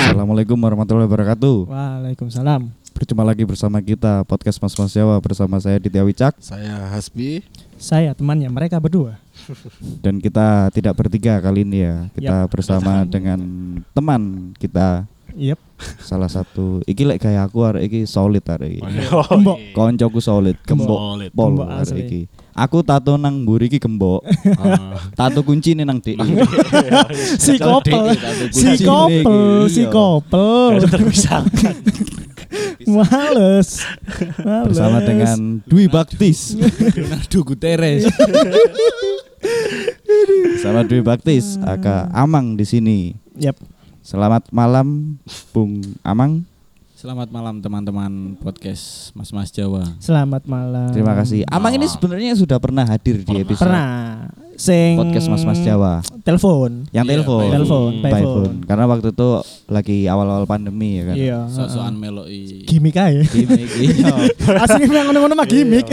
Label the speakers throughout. Speaker 1: Assalamualaikum warahmatullahi wabarakatuh.
Speaker 2: Waalaikumsalam.
Speaker 1: Berjumpa lagi bersama kita podcast Mas Mas Jawa bersama saya Ditya Wicak
Speaker 3: Saya Hasbi.
Speaker 2: Saya temannya mereka berdua.
Speaker 1: dan kita tidak bertiga kali ini ya. Kita bersama dengan teman kita
Speaker 2: Yep.
Speaker 1: salah satu iki lek gaya aku arek iki solid arek iki.
Speaker 4: Oh,
Speaker 2: Mbok.
Speaker 1: iya. Koncoku solid, gembok
Speaker 3: Solid.
Speaker 1: pol
Speaker 2: Gembok
Speaker 1: arek
Speaker 2: asli.
Speaker 1: iki. Aku tato nang mburi iki gembok,
Speaker 3: Ah.
Speaker 1: tato kunci nih nang dik.
Speaker 2: Si kopel. Si
Speaker 1: Kunci
Speaker 2: kopel,
Speaker 1: nih,
Speaker 2: si
Speaker 1: iya.
Speaker 2: kopel. Males. Males.
Speaker 1: Bersama dengan Dwi Baktis.
Speaker 5: Leonardo Guterres.
Speaker 1: Bersama Dwi Baktis, aka Amang di sini.
Speaker 2: Yep.
Speaker 1: Selamat malam Bung Amang.
Speaker 5: Selamat malam teman-teman podcast Mas Mas Jawa.
Speaker 2: Selamat malam.
Speaker 1: Terima kasih. Amang ini sebenarnya sudah pernah hadir di episode
Speaker 2: Pernah sing
Speaker 1: podcast Mas Mas Jawa
Speaker 2: Telepon.
Speaker 1: yang
Speaker 5: Iya,
Speaker 1: telepon.
Speaker 5: by
Speaker 2: Telepon, by
Speaker 1: By
Speaker 2: phone.
Speaker 1: phone. Karena waktu itu lagi awal-awal pandemi ya kan.
Speaker 2: Iya.
Speaker 5: Sosokan meloi.
Speaker 2: Gimik aja.
Speaker 1: Gimik, iya.
Speaker 2: Asli memang ngono-ngono mah gimik.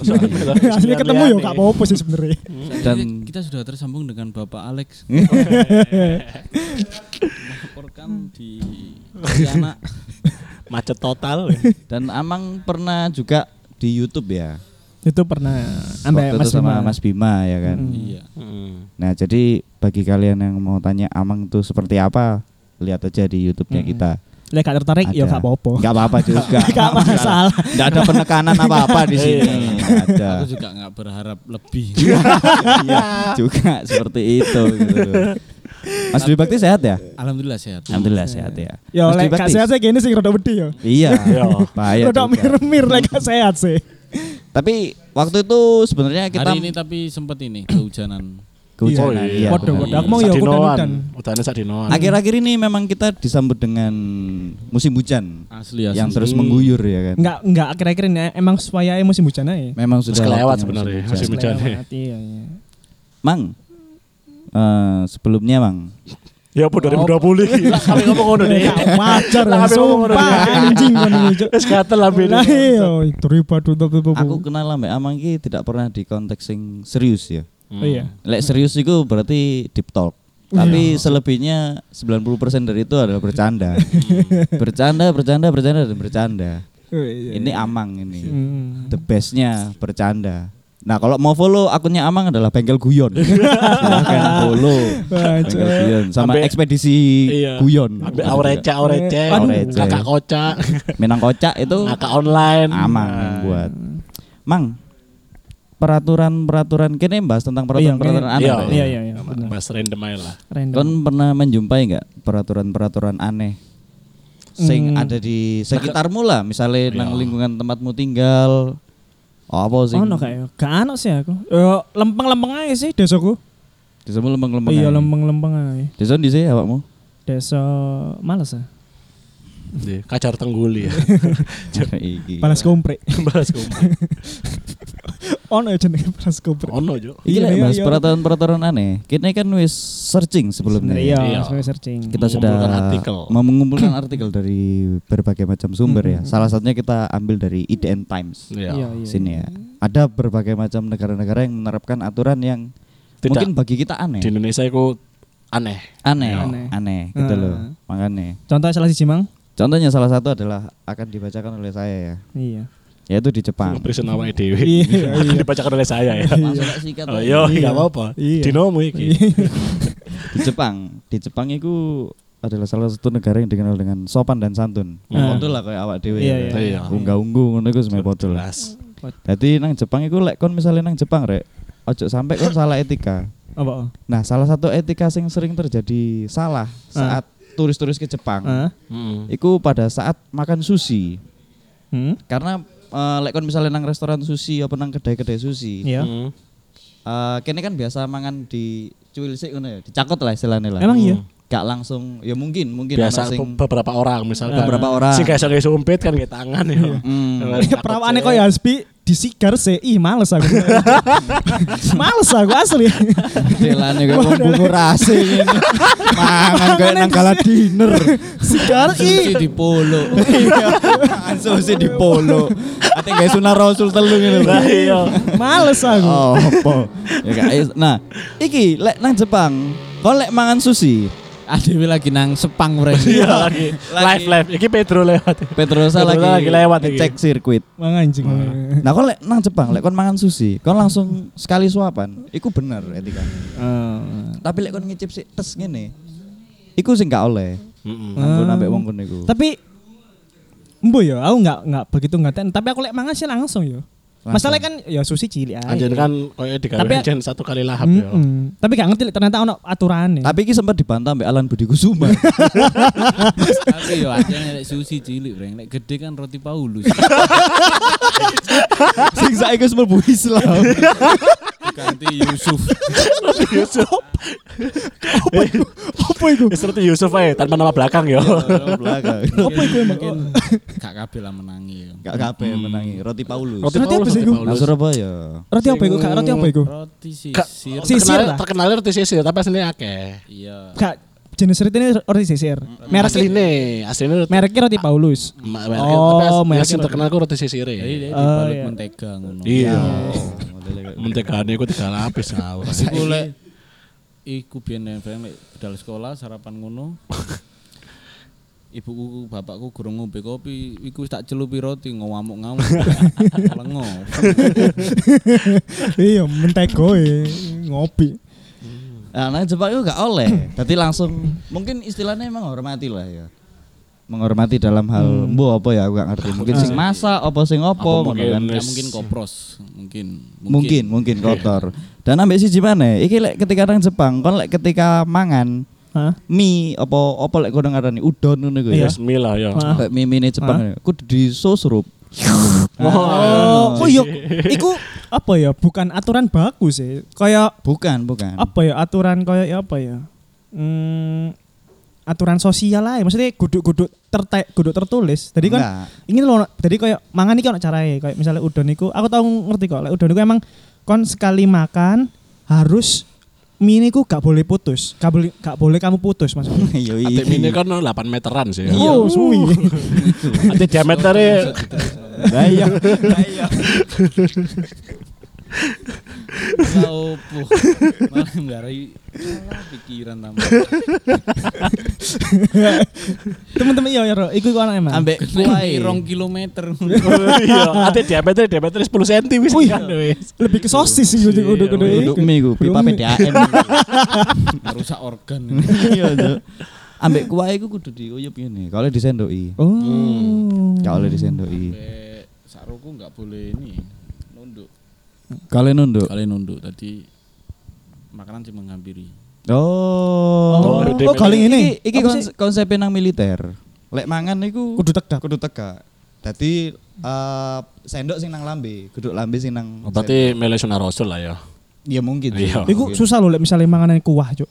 Speaker 2: Asli ketemu yo gak apa-apa sih sebenarnya.
Speaker 1: Dan-
Speaker 5: Dan kita sudah tersambung dengan Bapak Alex. Melaporkan di Tiana.
Speaker 3: Macet total.
Speaker 1: Dan Amang pernah juga di YouTube ya.
Speaker 2: Itu pernah
Speaker 1: waktu
Speaker 2: ambek Mas
Speaker 1: itu sama
Speaker 2: Bima.
Speaker 1: Mas Bima ya kan.
Speaker 2: Mm.
Speaker 5: Iya.
Speaker 1: Nah, jadi bagi kalian yang mau tanya Amang tuh seperti apa, lihat aja di YouTube-nya
Speaker 2: Mm.
Speaker 1: kita.
Speaker 2: Lek gak tertarik yo
Speaker 1: Ada.
Speaker 2: gak ya apa-apa.
Speaker 1: Enggak apa-apa juga.
Speaker 2: Gak masalah. Iya.
Speaker 1: Enggak ada penekanan apa-apa di sini. Nggak ada.
Speaker 5: Iya. Aku juga nggak berharap lebih.
Speaker 1: Iya, juga seperti itu gitu. Mas Dwi Bakti sehat ya?
Speaker 5: Alhamdulillah sehat.
Speaker 1: Alhamdulillah sehat ya.
Speaker 2: Yo
Speaker 1: Mas Dwi
Speaker 2: lek gak
Speaker 1: Bakti?
Speaker 2: sehat sih gini sing rada wedi yo.
Speaker 1: Iya. Bahaya.
Speaker 3: Iya,
Speaker 2: Rada
Speaker 1: juga.
Speaker 2: mir-mir lek gak sehat sih.
Speaker 1: Tapi waktu itu sebenarnya kita
Speaker 5: Hari ini tapi sempat ini kehujanan.
Speaker 1: kehujanan.
Speaker 3: Oh, iya.
Speaker 1: iya.
Speaker 2: Waduh, waduh. Aku mau
Speaker 5: Iya.
Speaker 2: yo
Speaker 3: Sadinoan.
Speaker 2: kudan-kudan.
Speaker 3: Udane sadinoan.
Speaker 1: Akhir-akhir ini memang kita disambut dengan musim hujan
Speaker 5: Asli
Speaker 3: Iya,
Speaker 5: asli.
Speaker 1: yang terus mengguyur ya kan.
Speaker 2: Enggak enggak akhir-akhir ini emang suayae musim hujan ae.
Speaker 1: Memang
Speaker 3: Terus
Speaker 1: sudah
Speaker 3: kelewat
Speaker 1: waktunya
Speaker 3: sebenarnya
Speaker 1: musim
Speaker 3: musim
Speaker 1: hujan.
Speaker 3: hujan.
Speaker 2: Lewat, iya, iya.
Speaker 1: Mang. eh, sebelumnya Mang.
Speaker 3: Ya apa 2020 iki. Sampe ngomong ngono deh.
Speaker 2: Gak wajar
Speaker 3: Lah, apa yang ngomong
Speaker 2: sumpah
Speaker 3: ngono?
Speaker 2: anjing kan ini.
Speaker 3: Wis gatel lambe.
Speaker 2: Lah yo terlibat
Speaker 1: Aku kenal lah Mbak Amang ki tidak pernah di konteks sing serius ya.
Speaker 3: Hmm.
Speaker 2: Iya.
Speaker 1: Lek serius itu berarti deep talk. Tapi selebihnya 90% dari itu adalah bercanda. bercanda, bercanda, bercanda dan bercanda.
Speaker 2: Oh, iya.
Speaker 1: Hmm. Ini Amang ini.
Speaker 2: Hmm.
Speaker 1: The bestnya bercanda. Nah kalau mau follow akunnya Amang adalah Bengkel Guyon. Silahkan follow Bengkel Guyon sama
Speaker 3: Ambe-
Speaker 1: ekspedisi
Speaker 3: Iya.
Speaker 1: Guyon.
Speaker 3: Ambil aurece aurece.
Speaker 2: Aduh.
Speaker 1: Aurece.
Speaker 3: Kakak kocak.
Speaker 1: Minang kocak itu
Speaker 3: Kakak online.
Speaker 1: Amang yang
Speaker 2: Nah.
Speaker 1: buat. Mang peraturan-peraturan kene bahas tentang peraturan-peraturan aneh.
Speaker 3: Iya.
Speaker 1: Pak, ya?
Speaker 2: Iya iya iya. benar.
Speaker 3: Mas random aja lah.
Speaker 2: Random.
Speaker 1: Kon pernah menjumpai nggak peraturan-peraturan aneh sing
Speaker 2: Hmm.
Speaker 1: ada di sekitarmu lah, misalnya nang lingkungan tempatmu tinggal. Apa sih?
Speaker 2: Ono gak ya? Gak ono sih aku. Yo lempeng-lempeng aja sih desaku.
Speaker 1: Desamu lempeng-lempeng.
Speaker 2: Iya
Speaker 1: ae.
Speaker 2: lempeng-lempeng aja.
Speaker 1: Desa di sini awakmu.
Speaker 2: Desa males ah.
Speaker 3: Di Kacar tengguli ya.
Speaker 1: Iki.
Speaker 2: Balas kompre.
Speaker 3: Balas kumpul.
Speaker 2: ono ya jenenge balas kompre.
Speaker 3: Ono jo.
Speaker 1: Iki
Speaker 2: Iya,
Speaker 1: lek
Speaker 2: iya,
Speaker 1: bahas
Speaker 2: iya.
Speaker 1: peraturan-peraturan aneh. Kita kan wis searching sebelumnya.
Speaker 2: Iya,
Speaker 3: Iya.
Speaker 2: sebagai searching.
Speaker 1: Kita sudah
Speaker 3: Mengumpulkan artikel.
Speaker 1: mem- mengumpulkan artikel dari berbagai macam sumber ya. Salah satunya kita ambil dari IDN Times.
Speaker 2: Iya,
Speaker 3: Iya.
Speaker 2: iya.
Speaker 1: sini ya. Ada berbagai macam negara-negara yang menerapkan aturan yang
Speaker 3: Tidak.
Speaker 1: mungkin bagi kita
Speaker 3: Di Iya.
Speaker 1: aneh.
Speaker 3: Indonesia iku aneh.
Speaker 1: Aneh, aneh,
Speaker 2: Aneh.
Speaker 1: gitu
Speaker 2: Ah.
Speaker 1: loh. Makanya.
Speaker 2: Contohnya salah siji, Mang?
Speaker 1: Contohnya salah satu adalah akan dibacakan oleh saya ya,
Speaker 2: Iya.
Speaker 1: yaitu di Jepang.
Speaker 3: Prison awake dhewe.
Speaker 2: Iya,
Speaker 3: Akan dibacakan oleh saya ya.
Speaker 5: Langsung tak sikat.
Speaker 3: Oh, yo,
Speaker 2: Iya.
Speaker 3: enggak apa-apa.
Speaker 2: Iya.
Speaker 3: Dinomu iki.
Speaker 1: Di Jepang, di Jepang itu adalah salah satu negara yang dikenal dengan sopan dan santun.
Speaker 2: Ah.
Speaker 1: Podo lah kayak awak dhewe.
Speaker 2: Iya,
Speaker 1: ya.
Speaker 2: iya,
Speaker 3: iya.
Speaker 1: Unggah-ungguh ngono iku sebenarnya podo lah.
Speaker 2: Hmm.
Speaker 3: Jelas.
Speaker 1: Dadi nang Jepang iku lek kon misalnya nang Jepang rek, ojo sampai kon salah etika.
Speaker 2: Apa? oh?
Speaker 1: Nah, salah satu etika yang sering terjadi salah saat turis-turis ke Jepang.
Speaker 2: Heeh.
Speaker 1: Iku pada saat makan sushi.
Speaker 2: Hmm?
Speaker 1: Karena eh, lek kon misalnya nang restoran sushi apa nang kedai-kedai sushi.
Speaker 2: Iya.
Speaker 3: Hmm.
Speaker 1: eh, kene kan biasa mangan di cuil sik ngono ya, dicakot lah istilahnya lah. Hmm.
Speaker 2: Emang iya?
Speaker 1: Gak langsung, ya mungkin, mungkin
Speaker 3: Biasa
Speaker 1: ono sing Nah,
Speaker 3: beberapa orang misalkan.
Speaker 1: beberapa orang.
Speaker 3: Sing kan, kayak sumpit kan kayak tangan ya.
Speaker 1: Hmm.
Speaker 3: Takut
Speaker 2: Iya, Perawaannya kok ya Hasbi disigar sih. Ih, males aku. males aku asli.
Speaker 1: Delane kok ya, wong bungo rase ngene. Mangan kayak nang gala dinner.
Speaker 2: Sigar
Speaker 1: Susi
Speaker 2: ih.
Speaker 1: di polo. Iya. Mangan Susi di polo. Ate gak sunah Rasul telu ngene lho.
Speaker 3: Lah iya.
Speaker 2: Males aku.
Speaker 1: Oh, apa? Ya gak is- Nah, iki lek nang Jepang, kon lek mangan sushi,
Speaker 5: Adewi lagi nang Sepang mereka.
Speaker 3: Iya lagi live live. Iki Pedro lewat.
Speaker 1: Petrosa lagi,
Speaker 3: lagi lewat iki.
Speaker 1: ngecek sirkuit.
Speaker 2: Mang anjing.
Speaker 1: Nah, kon lek nang Jepang, lek kon mangan sushi, kon langsung sekali suapan. Iku bener etika.
Speaker 3: Hmm.
Speaker 1: Tapi lek kon ngicip sik tes ngene. Iku sing gak oleh.
Speaker 3: Hmm.
Speaker 1: Aku nambah wong kono iku.
Speaker 2: Tapi Embo ya, aku nggak nggak begitu ngatain. Tapi aku lek mangan sih langsung ya. Masalahnya kan ya sushi cilik aja.
Speaker 3: Anjir kan koyo digawe
Speaker 2: Tapi- Hmm.
Speaker 3: jen satu kali lahap ya.
Speaker 2: Mm-mm. Tapi gak ngerti Lek, ternyata ono aturannya.
Speaker 1: Tapi iki sempat dibantah mbek Alan Budi Kusuma.
Speaker 5: Tapi yo aja nek susi cilik breng. Nek gede kan roti Paulus.
Speaker 1: sing saiki wis mlebu Islam.
Speaker 5: Ganti Yusuf.
Speaker 3: Yusuf.
Speaker 2: Apa itu? Iya,
Speaker 3: Wis Ya, seperti Yusuf ae tanpa nama belakang ya.
Speaker 1: Belakang.
Speaker 5: Apa iku
Speaker 3: Oh.
Speaker 5: mungkin gak kabeh lah menangi yo.
Speaker 1: Gak kabeh menangi roti Paulus.
Speaker 2: Roti apa sih iku?
Speaker 1: Nang Surabaya.
Speaker 2: Roti apa iku? Kak, Roti apa iku?
Speaker 5: Roti sisir.
Speaker 2: Si- iya. Sisir lah.
Speaker 3: Terkenal roti sisir tapi aslinya akeh.
Speaker 5: Iya.
Speaker 2: Kak, jenis roti ini roti sisir.
Speaker 3: Merek
Speaker 2: Merek
Speaker 3: asline, asline roti.
Speaker 2: mereknya roti Paulus.
Speaker 3: Ma-
Speaker 2: Oh,
Speaker 3: tapi as-
Speaker 2: merek
Speaker 3: yang
Speaker 2: roti.
Speaker 3: terkenal ku roti sisir ya.
Speaker 5: Jadi dia
Speaker 2: Oh,
Speaker 5: dibalut
Speaker 2: iya.
Speaker 5: mentega ngono.
Speaker 3: Eh, Iya. Mentegane ku tiga lapis ngawur.
Speaker 5: Iku lek iku biyen nek breng lek budal sekolah sarapan ngono. Ibuku bapakku gurung ngombe kopi, iku wis tak celupi roti ngamuk-ngamuk. Lengo.
Speaker 2: Iya, mentego ya, ngopi.
Speaker 1: Nah, nang Jepang itu gak oleh. Tadi langsung mungkin istilahnya menghormati lah ya. Menghormati dalam hal mbo apa ya aku gak ngerti. Mungkin sing masak apa sing apa
Speaker 3: Apa
Speaker 1: ngono
Speaker 3: mungkin
Speaker 1: kan.
Speaker 5: Ya
Speaker 3: Wis.
Speaker 5: mungkin kopros, mungkin.
Speaker 1: Mungkin mungkin kotor. Dan ambek siji maneh, iki lek ketika nang Jepang kon lek ketika mangan
Speaker 2: Hah?
Speaker 1: mie apa apa lek kono ngarani udon ngono iku ya.
Speaker 2: Iya.
Speaker 3: Bismillah ya.
Speaker 2: Ah.
Speaker 1: Kayak mie mie Jepang kudu disusurup.
Speaker 2: Oh, oh iya, iku apa ya? Bukan aturan baku sih. Kayak
Speaker 1: Bukan, bukan.
Speaker 2: apa ya? Aturan kayak ya apa ya? Hmm, aturan sosial lah. ya. Maksudnya guduk-guduk tertek, guduk tertulis. Jadi kan
Speaker 1: Enggak.
Speaker 2: ini loh, jadi kayak mangan iki ono caranya. Kayak misalnya udon iku, aku tahu ngerti kok. Lek udon iku emang kon sekali makan harus mie niku gak boleh putus. Gak boleh gak boleh kamu putus maksudnya.
Speaker 1: Yo
Speaker 3: Atik ini kan 8 meteran sih.
Speaker 1: Iya.
Speaker 2: Oh, suwi.
Speaker 3: Atik diameternya
Speaker 1: Lah iya.
Speaker 5: Tahu puh. Malah ngarai salah pikiran tambah.
Speaker 2: Teman-teman iya ya, Ro. iku iku ono emang.
Speaker 1: Ambek
Speaker 5: Wah,
Speaker 1: kuai.
Speaker 5: rong kilometer.
Speaker 3: iya, ate diameter diameter 10 cm wis
Speaker 2: Wih.
Speaker 3: kan
Speaker 1: Iya.
Speaker 3: wis.
Speaker 2: lebih ke sosis sih gitu kudu kudu
Speaker 1: Duduk Iya, mie iku pipa
Speaker 2: Duduk mie.
Speaker 1: PDAM.
Speaker 5: Rusak organ.
Speaker 1: Iya, Cuk. Ambek kuai iku kudu diuyup ngene. Kalau disendoki.
Speaker 2: Oh.
Speaker 1: Hmm. Gak oleh disendoki.
Speaker 5: Sampai Saruku nggak boleh ini nunduk.
Speaker 1: Kalian nunduk.
Speaker 5: Kalian nunduk tadi makanan sih menghampiri.
Speaker 1: Oh.
Speaker 2: Oh,
Speaker 3: gede
Speaker 2: oh,
Speaker 3: mie.
Speaker 2: galing ini.
Speaker 1: Iki, iki
Speaker 2: Apa
Speaker 1: kons
Speaker 2: sih?
Speaker 1: konsepnya nang militer. Lek mangan niku
Speaker 2: kudu tegak.
Speaker 1: kudu tegak. Dadi eh, sendok sing nang lambe, kudu lambe sing
Speaker 4: Oh,
Speaker 1: nang.
Speaker 3: Berarti milih sunah rasul lah ya.
Speaker 1: sendok. ya mungkin. sih.
Speaker 3: Iya.
Speaker 2: Iku
Speaker 1: Mungkin.
Speaker 2: susah loh lek misalnya makanan kuah, Cuk.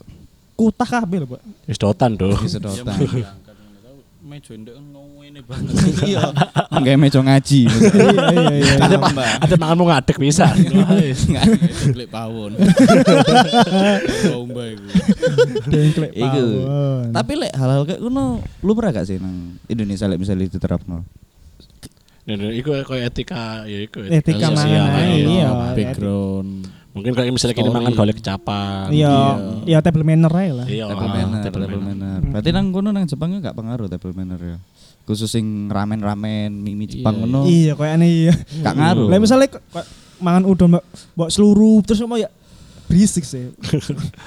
Speaker 2: Kutah kabeh lho, Pak.
Speaker 3: Wis dotan do.
Speaker 1: Disedotan.
Speaker 5: Mejo ndek ngene banget.
Speaker 1: Iya. Enggak meco ngaji.
Speaker 2: Iya iya iya.
Speaker 1: Ada
Speaker 3: Ate manganmu ngadeg bisa.
Speaker 5: Blek pawon. Bomba iku.
Speaker 2: Dengklek
Speaker 1: Iku.
Speaker 2: pawon.
Speaker 1: Tapi lek hal-hal kayak ngono lumrah gak sih nang Indonesia lek misalnya diterapno?
Speaker 3: Iku koyo etika ya iku.
Speaker 2: Etika
Speaker 3: sosial,
Speaker 2: mangan,
Speaker 3: ya.
Speaker 2: iya.
Speaker 5: Background.
Speaker 3: Mungkin kalau misalnya kini
Speaker 5: Story.
Speaker 3: mangan golek kecapan.
Speaker 2: Iya, iya table manner ae lah.
Speaker 3: Iya.
Speaker 1: table manner, table, manner. Berarti nang kono nang Jepang gak pengaruh table manner ya. Khusus sing ramen-ramen mie-mie Jepang
Speaker 5: Iya,
Speaker 1: ngono
Speaker 2: Iya, koyo aneh iya.
Speaker 1: Oh. gak ngaruh.
Speaker 2: Lah misalnya kok- kok mangan udon mbak, mbak seluruh terus mau ya berisik sih.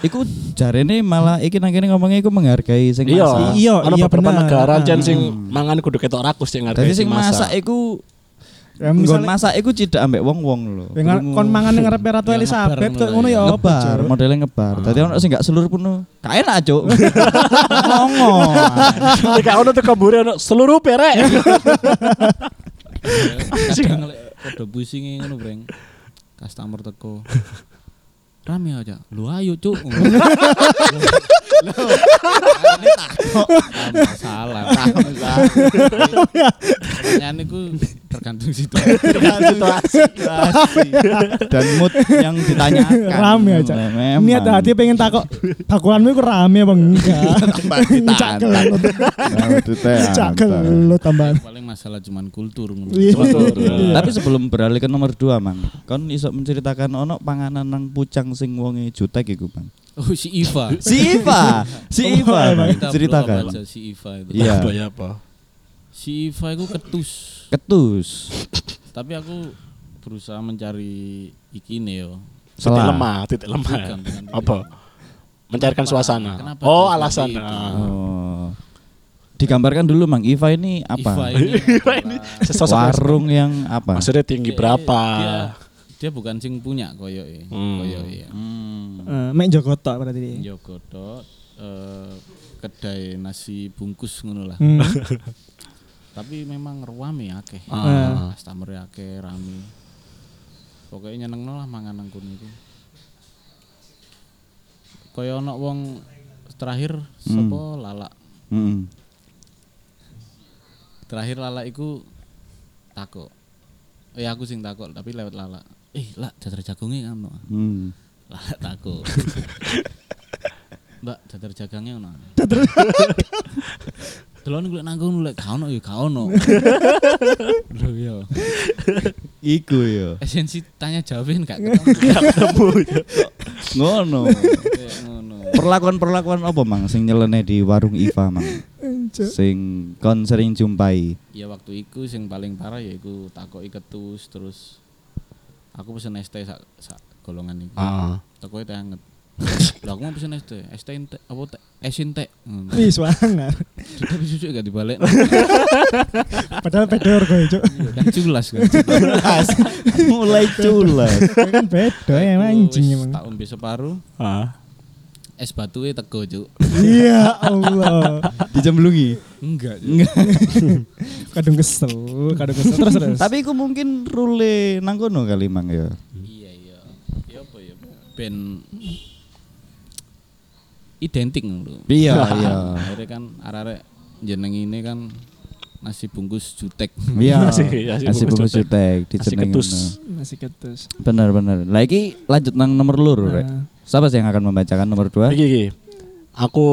Speaker 1: iku jarene malah iki nang kene ngomongnya iku menghargai sing
Speaker 3: Iya.
Speaker 1: masak.
Speaker 2: Iya,
Speaker 3: Ono
Speaker 2: iya,
Speaker 3: beberapa
Speaker 2: benar.
Speaker 3: negara
Speaker 2: Ah.
Speaker 3: jan sing mangan kudu ketok rakus sing ngarep.
Speaker 1: Dadi sing masak iku
Speaker 2: Ya
Speaker 1: nggon
Speaker 2: misalnya
Speaker 1: masak iku cidak ambek wong-wong lho.
Speaker 2: dengan
Speaker 1: Krungu.
Speaker 2: kon mangan yang ngarepe Ratu
Speaker 5: Iya,
Speaker 2: Elizabeth
Speaker 5: ngebar
Speaker 2: kok ngono ya apa,
Speaker 1: ngebar,
Speaker 2: Cuk?
Speaker 1: modelnya ngebar. Dadi ono sing gak selur pun gak enak, Cuk. Mongo.
Speaker 3: Nek ono teko mburi ono seluruh perek.
Speaker 5: Kadang lek podo pusinge ngono, Breng. Customer teko. Rame aja. Lu ayo, Cuk. Salah, salah. Pertanyaan iku tergantung situ
Speaker 1: situasi dan mood yang ditanyakan.
Speaker 2: Rame aja.
Speaker 1: Memang.
Speaker 2: Niat hati pengen takok bakulanmu iku rame apa enggak?
Speaker 1: Tambah
Speaker 2: Cak
Speaker 1: ditantang.
Speaker 2: gelut.
Speaker 1: Nah,
Speaker 2: Cak gelut tambahan.
Speaker 5: paling masalah cuman kultur ngono.
Speaker 2: Iya.
Speaker 1: Tapi sebelum beralih ke nomor dua mang, kon iso menceritakan ono panganan nang pucang sing wonge jutek iku mang. Oh, iya,
Speaker 5: oh si Iva
Speaker 1: Si Iva, si Iva,
Speaker 2: Mang.
Speaker 1: Mang.
Speaker 5: Kita blow up
Speaker 1: Iya. ceritakan.
Speaker 5: aja si Iva itu
Speaker 1: Iya.
Speaker 3: Apa ya apa?
Speaker 5: si Iva itu ketus
Speaker 1: Ketus,
Speaker 5: tapi aku berusaha mencari ikine yo
Speaker 1: Selah.
Speaker 4: Titik lemah, titik lemah.
Speaker 5: Bukan, bukan titik.
Speaker 4: Apa? Mencarikan
Speaker 5: Kenapa?
Speaker 4: suasana.
Speaker 5: Kenapa
Speaker 4: Oh,
Speaker 5: dia
Speaker 4: alasan.
Speaker 5: seperti itu?
Speaker 4: Ah.
Speaker 1: Oh. Digambarkan dulu Mang Iva ini
Speaker 5: Iva
Speaker 1: apa?
Speaker 5: ini adalah-
Speaker 4: Sesosok
Speaker 1: Warung yang apa?
Speaker 4: Maksudnya tinggi
Speaker 5: Iya,
Speaker 4: berapa?
Speaker 5: dia, dia bukan sing punya e, koyoke
Speaker 4: Ah. Hmm.
Speaker 5: koyoke ya
Speaker 1: Hmm.
Speaker 2: Eh, Mek Joko tok berarti. dia.
Speaker 1: Iya.
Speaker 5: Yogo Dot, eh, kedai nasi bungkus ngono lah
Speaker 2: Hmm.
Speaker 5: tapi memang ruame akeh
Speaker 2: Ah.
Speaker 5: customer akeh rame pokoknya nyenengno lah mangan nang kono iku kaya ana wong terakhir sapa lala
Speaker 1: Mm-mm.
Speaker 5: terakhir lala iku takok eh aku sing takok tapi lewat lala eh lak jajar jagonge ngono
Speaker 1: Hmm.
Speaker 5: lala takok mbak jajar jagangnya ngono Delon gue nanggung lek gak ono ya gak ono. Lho ya.
Speaker 1: Iku ya.
Speaker 5: esensi tanya jawabin gak ketemu
Speaker 1: Ngono.
Speaker 5: Kayak ngono
Speaker 1: Perlakuan-perlakuan apa Mang sing nyeleneh di warung Iva Mang? Sing kon sering jumpai.
Speaker 5: ya waktu itu sing paling parah ya iku takoki ketus terus aku pesen es teh sak, sak golongan iku
Speaker 4: Ah.
Speaker 5: takoki teh anget lah aku mau pesen es teh es teh entek apa teh es entek Hmm.
Speaker 2: Wis banget.
Speaker 5: tapi susu gak dibalik
Speaker 2: Padahal pedor kowe, Cuk.
Speaker 5: kan culas kan
Speaker 1: Mulai culas.
Speaker 2: Kowe kan pedo ya anjing
Speaker 5: Wis
Speaker 2: emang.
Speaker 5: tak ombe separuh
Speaker 4: Ah.
Speaker 5: es batuke teko cuk
Speaker 2: Iya Allah.
Speaker 1: Dijemblungi.
Speaker 5: enggak Cuk.
Speaker 2: Kadung kesel, kadung kesel terus terus.
Speaker 1: Tapi iku mungkin rule nang kono kali Mang ya.
Speaker 4: Hmm.
Speaker 5: iya iya ya apa ya ben identik lho
Speaker 1: Iya, iya.
Speaker 5: akhirnya kan arek-arek jeneng ini kan nasi bungkus jutek
Speaker 1: Iya.
Speaker 4: Nasi- nasi
Speaker 1: Nasi bungkus
Speaker 4: bungkus
Speaker 1: jutek
Speaker 4: Kasih
Speaker 1: dijenengi.
Speaker 4: ketus.
Speaker 2: masih ketus.
Speaker 1: Bener bener. Lagi lanjut nang nomor lur, Rek.
Speaker 2: Nah.
Speaker 1: Siapa sih yang akan membacakan nomor dua?
Speaker 4: Iki iki. Aku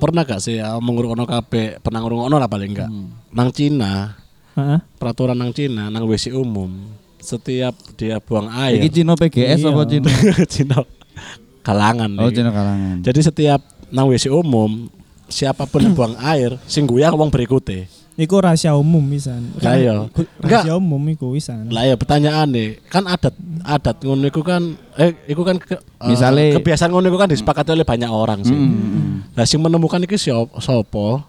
Speaker 4: pernah gak sih ya, mengurungono kabeh, pernah ngurungono lah paling gak.
Speaker 5: Hmm.
Speaker 4: Nang Cina,
Speaker 2: Heeh.
Speaker 4: peraturan nang Cina, nang WC umum, setiap dia buang
Speaker 1: Iki
Speaker 4: air,
Speaker 1: Cino PGS
Speaker 4: Iya.
Speaker 1: apa Cino?
Speaker 4: Cina kalangan.
Speaker 1: Oh,
Speaker 4: iki.
Speaker 1: Cino kalangan.
Speaker 4: Jadi setiap nang WC umum, siapapun yang buang air, sing guyang wong berikutnya.
Speaker 2: Iku rahasia umum pisan.
Speaker 4: Lah iya. Enggak.
Speaker 2: Rahasia umum iku pisan.
Speaker 4: Lah ya pertanyaan nih, kan adat adat ngono iku kan eh iku kan ke, eh,
Speaker 1: Misale- Mm-hmm.
Speaker 4: kebiasaan ngono iku kan disepakati oleh banyak orang sih.
Speaker 1: Hmm,
Speaker 4: Lah sing menemukan iki siop- sapa?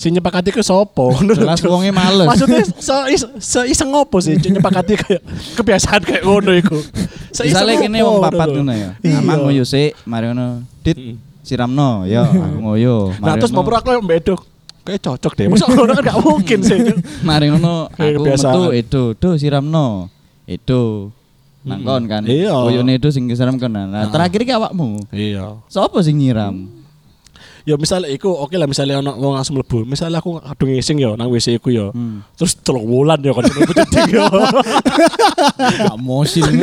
Speaker 4: Sing nyepakati iku sapa? Ngono lho,
Speaker 1: Jelas
Speaker 4: Cuk.
Speaker 1: wonge males.
Speaker 4: Maksudnya se, is- se iseng ngopo sih Cuk, nyepakati kayak kebiasaan kayak ngono iku. Se iseng
Speaker 1: Misalnya kene wong
Speaker 4: ngopo,
Speaker 1: papat
Speaker 4: ngono lho.
Speaker 1: ngono ya.
Speaker 4: Iya. Hmm.
Speaker 1: Amang ngoyo sik, mari ngono. Dit siramno, yo aku ngoyo.
Speaker 4: Nah
Speaker 1: Mari
Speaker 4: terus
Speaker 1: ngono.
Speaker 4: bapak aku yang mbedok. Kayak cocok deh. Masa ngono kan gak mungkin sih. Cuk.
Speaker 1: mari ngono
Speaker 4: Kayak
Speaker 1: aku
Speaker 4: kebiasaan.
Speaker 1: metu itu, do siramno. Itu nangkon kan.
Speaker 4: Iya.
Speaker 1: Koyone itu sing siram kono. Nah, terakhir ki awakmu.
Speaker 4: Iya.
Speaker 1: Sopo sing nyiram?
Speaker 4: Ya misalnya iku oke lah misalnya ono wong langsung mlebu. Misalnya aku kadung ngising ya nang WC iku ya.
Speaker 1: Hmm.
Speaker 4: Terus telung wulan ya kan mlebu cedhek ya.
Speaker 5: gak mosin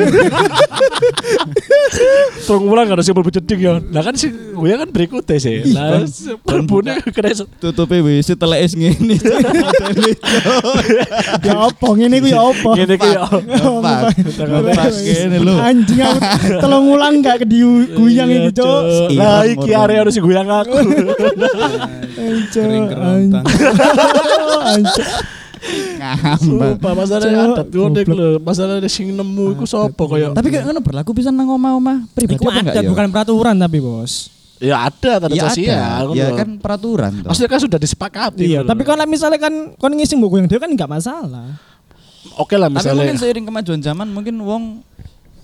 Speaker 4: Telung wulan kan sing mlebu cedhek ya. Lah kan sing gue kan berikutnya
Speaker 1: Iya,
Speaker 4: sih.
Speaker 1: kan.
Speaker 4: Lah mlebune kena se-
Speaker 1: Tutupi wis teleke sing ngene.
Speaker 2: Ya opo ngene iku ya opo.
Speaker 4: ngene iki ya.
Speaker 1: Lepas. Lepas kene lho.
Speaker 2: Anjing aku telung wulan gak
Speaker 4: Iya,
Speaker 2: kediuyang
Speaker 1: Iya,
Speaker 2: iki, Cuk.
Speaker 4: Lah iki area harus gue aku.
Speaker 2: Kering kerontang. Anjing.
Speaker 1: Ngambang.
Speaker 4: Sumpah masalahnya adat ngono iku lho. Masalahnya sing nemu iku sapa kaya
Speaker 1: Tapi kayak ngono berlaku pisan nang omah-omah pribadi
Speaker 2: Iku
Speaker 1: apa enggak
Speaker 2: adat
Speaker 1: ya?
Speaker 2: bukan peraturan tapi, Bos.
Speaker 4: ya ada tanda
Speaker 1: Iya
Speaker 4: sosial.
Speaker 1: ada.
Speaker 4: ngono
Speaker 1: Ya
Speaker 4: lho.
Speaker 1: kan peraturan toh.
Speaker 4: Maksudnya kan sudah disepakati.
Speaker 2: Iya,
Speaker 4: ngono
Speaker 2: tapi
Speaker 4: lho.
Speaker 2: kalau misalnya kan kon ngising buku yang dia kan nggak masalah.
Speaker 4: oke lah
Speaker 1: Tapi mungkin
Speaker 4: misalnya.
Speaker 1: seiring kemajuan zaman mungkin wong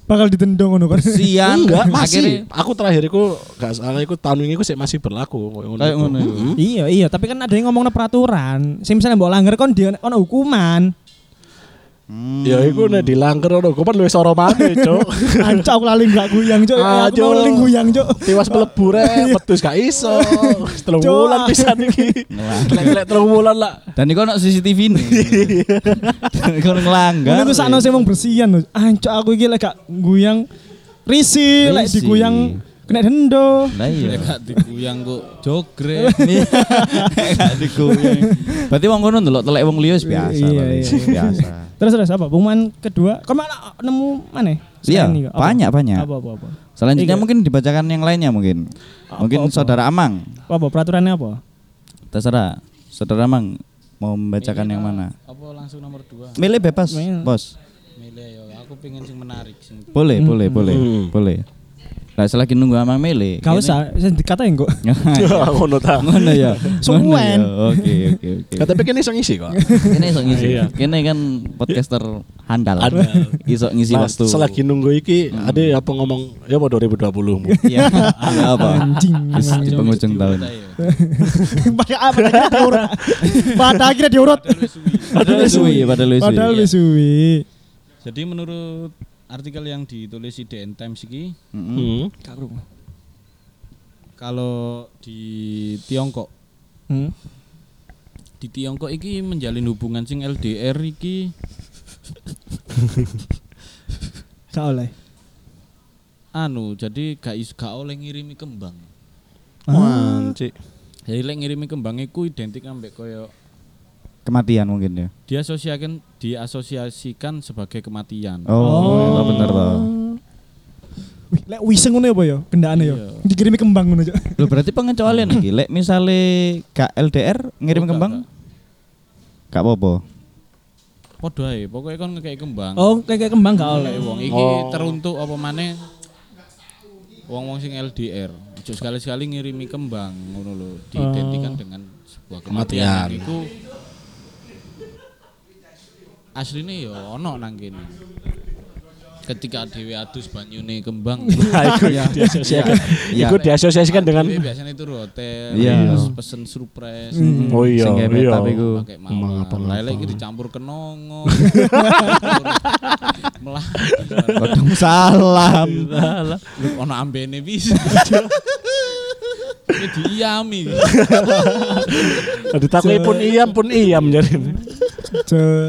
Speaker 2: Bakal ditendong ngono kan.
Speaker 1: sian
Speaker 4: Enggak, masih.
Speaker 1: akhirnya-
Speaker 4: Aku terakhir iku gak salah iku tahun ini iku sih masih berlaku kaya ngono.
Speaker 1: Kayak
Speaker 4: iku. Hmm.
Speaker 1: ngono iku.
Speaker 2: Iya, iya, tapi kan ada yang ngomongnya peraturan. Sing misalnya mbok langgar kon dia ono hukuman.
Speaker 4: Ya iku nek dilangker ono gopan luwih soro maneh, Cuk.
Speaker 2: Anca aku lali gak guyang, Cuk. Eh, Aku
Speaker 4: Aduh.
Speaker 2: mau ling guyang, Cuk.
Speaker 4: Tiwas mlebu rek, petus gak iso. Wis Telung
Speaker 2: Cuk.
Speaker 4: wulan pisan iki. Lek-lek telung wulan lah.
Speaker 1: Dan iku ono CCTV nih. Dan iku ono ngelanggar.
Speaker 2: Ini tuh sakno sing wong bersihan lho. Anca aku iki lek gak guyang risi, lek
Speaker 1: Risi.
Speaker 2: diguyang kena dendo.
Speaker 1: Lah iya.
Speaker 5: Gak diguyang kok jogre.
Speaker 1: Gak diguyang. Berarti wong kono ndelok telek wong liya wis biasa.
Speaker 2: Iya,
Speaker 1: Bang.
Speaker 2: iya.
Speaker 1: Biasa.
Speaker 2: Terus terus apa? Pengumuman kedua, kau mana nemu mana?
Speaker 1: Iya,
Speaker 2: Sekarang ini, apa?
Speaker 1: banyak banyak.
Speaker 2: Apa apa apa?
Speaker 1: Selanjutnya
Speaker 2: Iya.
Speaker 1: mungkin dibacakan yang lainnya mungkin. Mungkin
Speaker 2: Apa, apa?
Speaker 1: saudara Amang.
Speaker 2: Apa, apa peraturannya apa?
Speaker 1: Terserah. Saudara Amang mau membacakan yang mana?
Speaker 5: Apa langsung nomor dua?
Speaker 1: Milih bebas,
Speaker 2: Iya. Milih.
Speaker 1: Bos.
Speaker 5: Milih ya, aku pengen sing menarik sing
Speaker 1: Boleh, boleh, boleh,
Speaker 4: Hmm.
Speaker 1: boleh. Lah selagi nunggu Amang milih.
Speaker 2: Gak
Speaker 1: Ini-
Speaker 2: usah, saya dikatain kok.
Speaker 4: Ya ngono ta.
Speaker 1: Ngono ya.
Speaker 2: Suwen.
Speaker 1: Ngono ya. Oke, oke, oke.
Speaker 4: Kata pikir iso ngisi kok.
Speaker 1: Kene iso ngisi.
Speaker 4: Iya.
Speaker 1: Kene kan podcaster handal.
Speaker 4: Handal.
Speaker 1: Iso ngisi
Speaker 4: Nah,
Speaker 1: waktu.
Speaker 4: selagi nunggu iki ada apa ngomong ya mau 2020 mu.
Speaker 1: Iya. Ya apa?
Speaker 2: Anjing.
Speaker 1: Wis di penghujung tahun.
Speaker 2: Pakai apa? Pada akhirnya diurut. Pada akhirnya diurut.
Speaker 1: Padahal wis suwi, Iya. padahal wis suwi.
Speaker 2: Padahal wis suwi.
Speaker 5: Jadi menurut artikel yang ditulis IDN Times ini,
Speaker 1: Mm-mm.
Speaker 4: Hmm.
Speaker 5: kalau di Tiongkok,
Speaker 2: Hmm.
Speaker 5: di Tiongkok iki menjalin hubungan sing LDR iki
Speaker 2: Gak oleh.
Speaker 5: anu, jadi gak is gak oleh ngirimi kembang.
Speaker 4: Wanci.
Speaker 5: Jadi lek ngirimi kembang iku identik ambek koyo
Speaker 1: Kematian mungkin ya.
Speaker 5: diasosiasikan diasosiasikan sebagai kematian.
Speaker 1: Oh, iya, bener toh.
Speaker 2: Wih, lek wiseng ngono apa ya? Kendakane ya.
Speaker 5: Iya.
Speaker 2: Dikirimi kembang ngono, Cuk.
Speaker 1: Loh berarti pengecualian iki. Lek misale gak LDR ngirim
Speaker 5: Oh, gak,
Speaker 1: kembang gak apa-apa.
Speaker 5: Padha ae, pokoke kon ngekeki kembang.
Speaker 2: Oh, kayak kayak kembang gak oleh.
Speaker 5: Oleh wong iki teruntuk apa maneh wong-wong sing LDR. Ojo sekali-sekali ngirimi kembang ngono lho, diidentikan dengan sebuah
Speaker 4: Kematian.
Speaker 5: kematian. Iku asline ya ono nang kene. Ketika dhewe adus banyune kembang,
Speaker 4: Nah, iku diasosiasikan.
Speaker 1: Iya.
Speaker 4: Iku diasosiasikan kan dengan
Speaker 5: dhewe biasanya itu hotel,
Speaker 1: Iya.
Speaker 5: terus pesen surprise.
Speaker 4: Oh iya,
Speaker 1: Sing
Speaker 4: iya.
Speaker 1: metal iku.
Speaker 5: pakai mawar, lele iki dicampur kenongo, melah,
Speaker 1: Kodong salam.
Speaker 5: Lu ono ambene bisa. Ini diiami.
Speaker 4: Ditakui pun iam pun iya iam jadi.
Speaker 2: Cuk.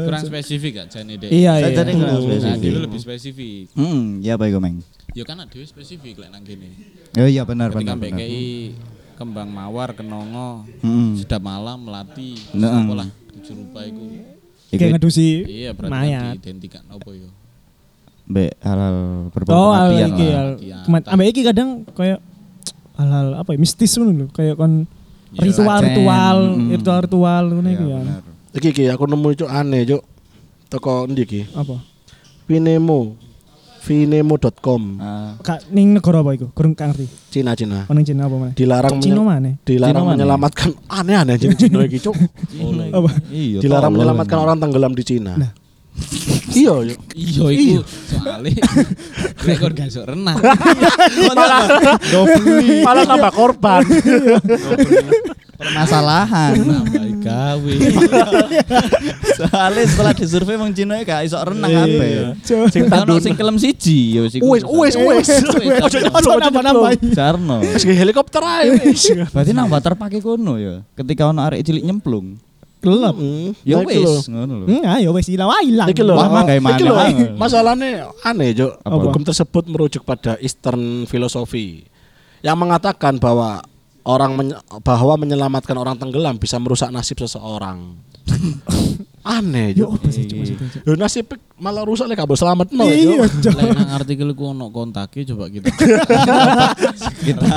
Speaker 5: Kurang spesifik gak jane dek.
Speaker 2: Iya,
Speaker 1: Saya
Speaker 2: iya.
Speaker 1: tadi kenal
Speaker 5: Nah,
Speaker 1: spesifik.
Speaker 5: dulu lebih spesifik.
Speaker 1: Hmm, ya apa iku, Meng?
Speaker 5: Ya kan ada spesifik lek nang kene.
Speaker 1: Oh iya benar
Speaker 5: Ketika
Speaker 1: benar. benar.
Speaker 5: BKI kembang mawar kenongo
Speaker 1: Hmm.
Speaker 5: sedap malam melati
Speaker 1: Nah.
Speaker 5: apa lah tujuh rupa iku
Speaker 1: Iku
Speaker 2: Kayak ngedusi
Speaker 5: iya berarti kan
Speaker 2: mayat.
Speaker 5: diidentikan apa yo
Speaker 1: mbek halal berbau
Speaker 2: Oh, hal
Speaker 1: kematian
Speaker 2: iki
Speaker 1: lah.
Speaker 2: hal. kemat- Ambek iki kadang kayak hal apa ya mistis ngono lho, kayak kon ritual-ritual,
Speaker 1: Sajen, mm.
Speaker 2: ritual-ritual ngono
Speaker 1: Iya,
Speaker 2: iku ya.
Speaker 1: benar.
Speaker 4: Iki iki aku nemu cuk aneh cuk. Toko endi iki?
Speaker 2: Apa?
Speaker 4: Vinemo. Vinemo.com.
Speaker 1: Ah,
Speaker 2: Kak ning negara apa iku? Kurang gak ngerti.
Speaker 4: Cina Cina.
Speaker 2: Ono ning Cina apa mana?
Speaker 4: Dilarang
Speaker 2: Cina
Speaker 4: menye-
Speaker 2: mana?
Speaker 4: dilarang
Speaker 1: Cina mana?
Speaker 4: menyelamatkan aneh-aneh Cina Cina iki cuk.
Speaker 2: Apa?
Speaker 1: iya,
Speaker 4: Dilarang
Speaker 1: tolol
Speaker 4: menyelamatkan
Speaker 1: ini.
Speaker 4: orang tenggelam di Cina. Iya, yuk.
Speaker 5: iya iku soalnya rekor gak sok renang
Speaker 4: Malah nambah korban.
Speaker 1: permasalahan.
Speaker 5: nambah Nah, gawe
Speaker 2: Iya,
Speaker 1: Soalnya setelah disurvei wong Cina gak iso renang
Speaker 2: Iya.
Speaker 1: ape.
Speaker 2: Cuk.
Speaker 1: Sing tandun sing kelem siji ya wis iku.
Speaker 4: Wes, wes, wes. Ojo
Speaker 2: Ojo nambah-nambahi.
Speaker 1: Jarno.
Speaker 4: Wes kayak helikopter ae wes.
Speaker 1: Berarti nang water pake kono ya. Ketika ono arek cilik nyemplung.
Speaker 4: Nah,
Speaker 2: Gelap.
Speaker 1: Ya
Speaker 4: gitu
Speaker 1: wis ngono lho.
Speaker 2: Hmm, ayo wes ilang wae ilang.
Speaker 4: Iki lho.
Speaker 1: Wah, mah kayak
Speaker 4: Iki
Speaker 2: Iya,
Speaker 1: mana,
Speaker 4: lho.
Speaker 1: Bang.
Speaker 4: Masalahnya aneh, Jok.
Speaker 1: Apa?
Speaker 4: Hukum tersebut merujuk pada Eastern philosophy yang mengatakan bahwa orang menye- bahwa menyelamatkan orang tenggelam bisa merusak nasib seseorang. aneh,
Speaker 2: Yo
Speaker 4: Jok.
Speaker 2: Ya, apa sih cuma sih.
Speaker 4: Yo nasib malah rusak lek kabel selamat no,
Speaker 2: Iya,
Speaker 4: Jok.
Speaker 2: Cuk.
Speaker 5: Lek nang artikel ku ono kontaknya coba kita
Speaker 1: Kita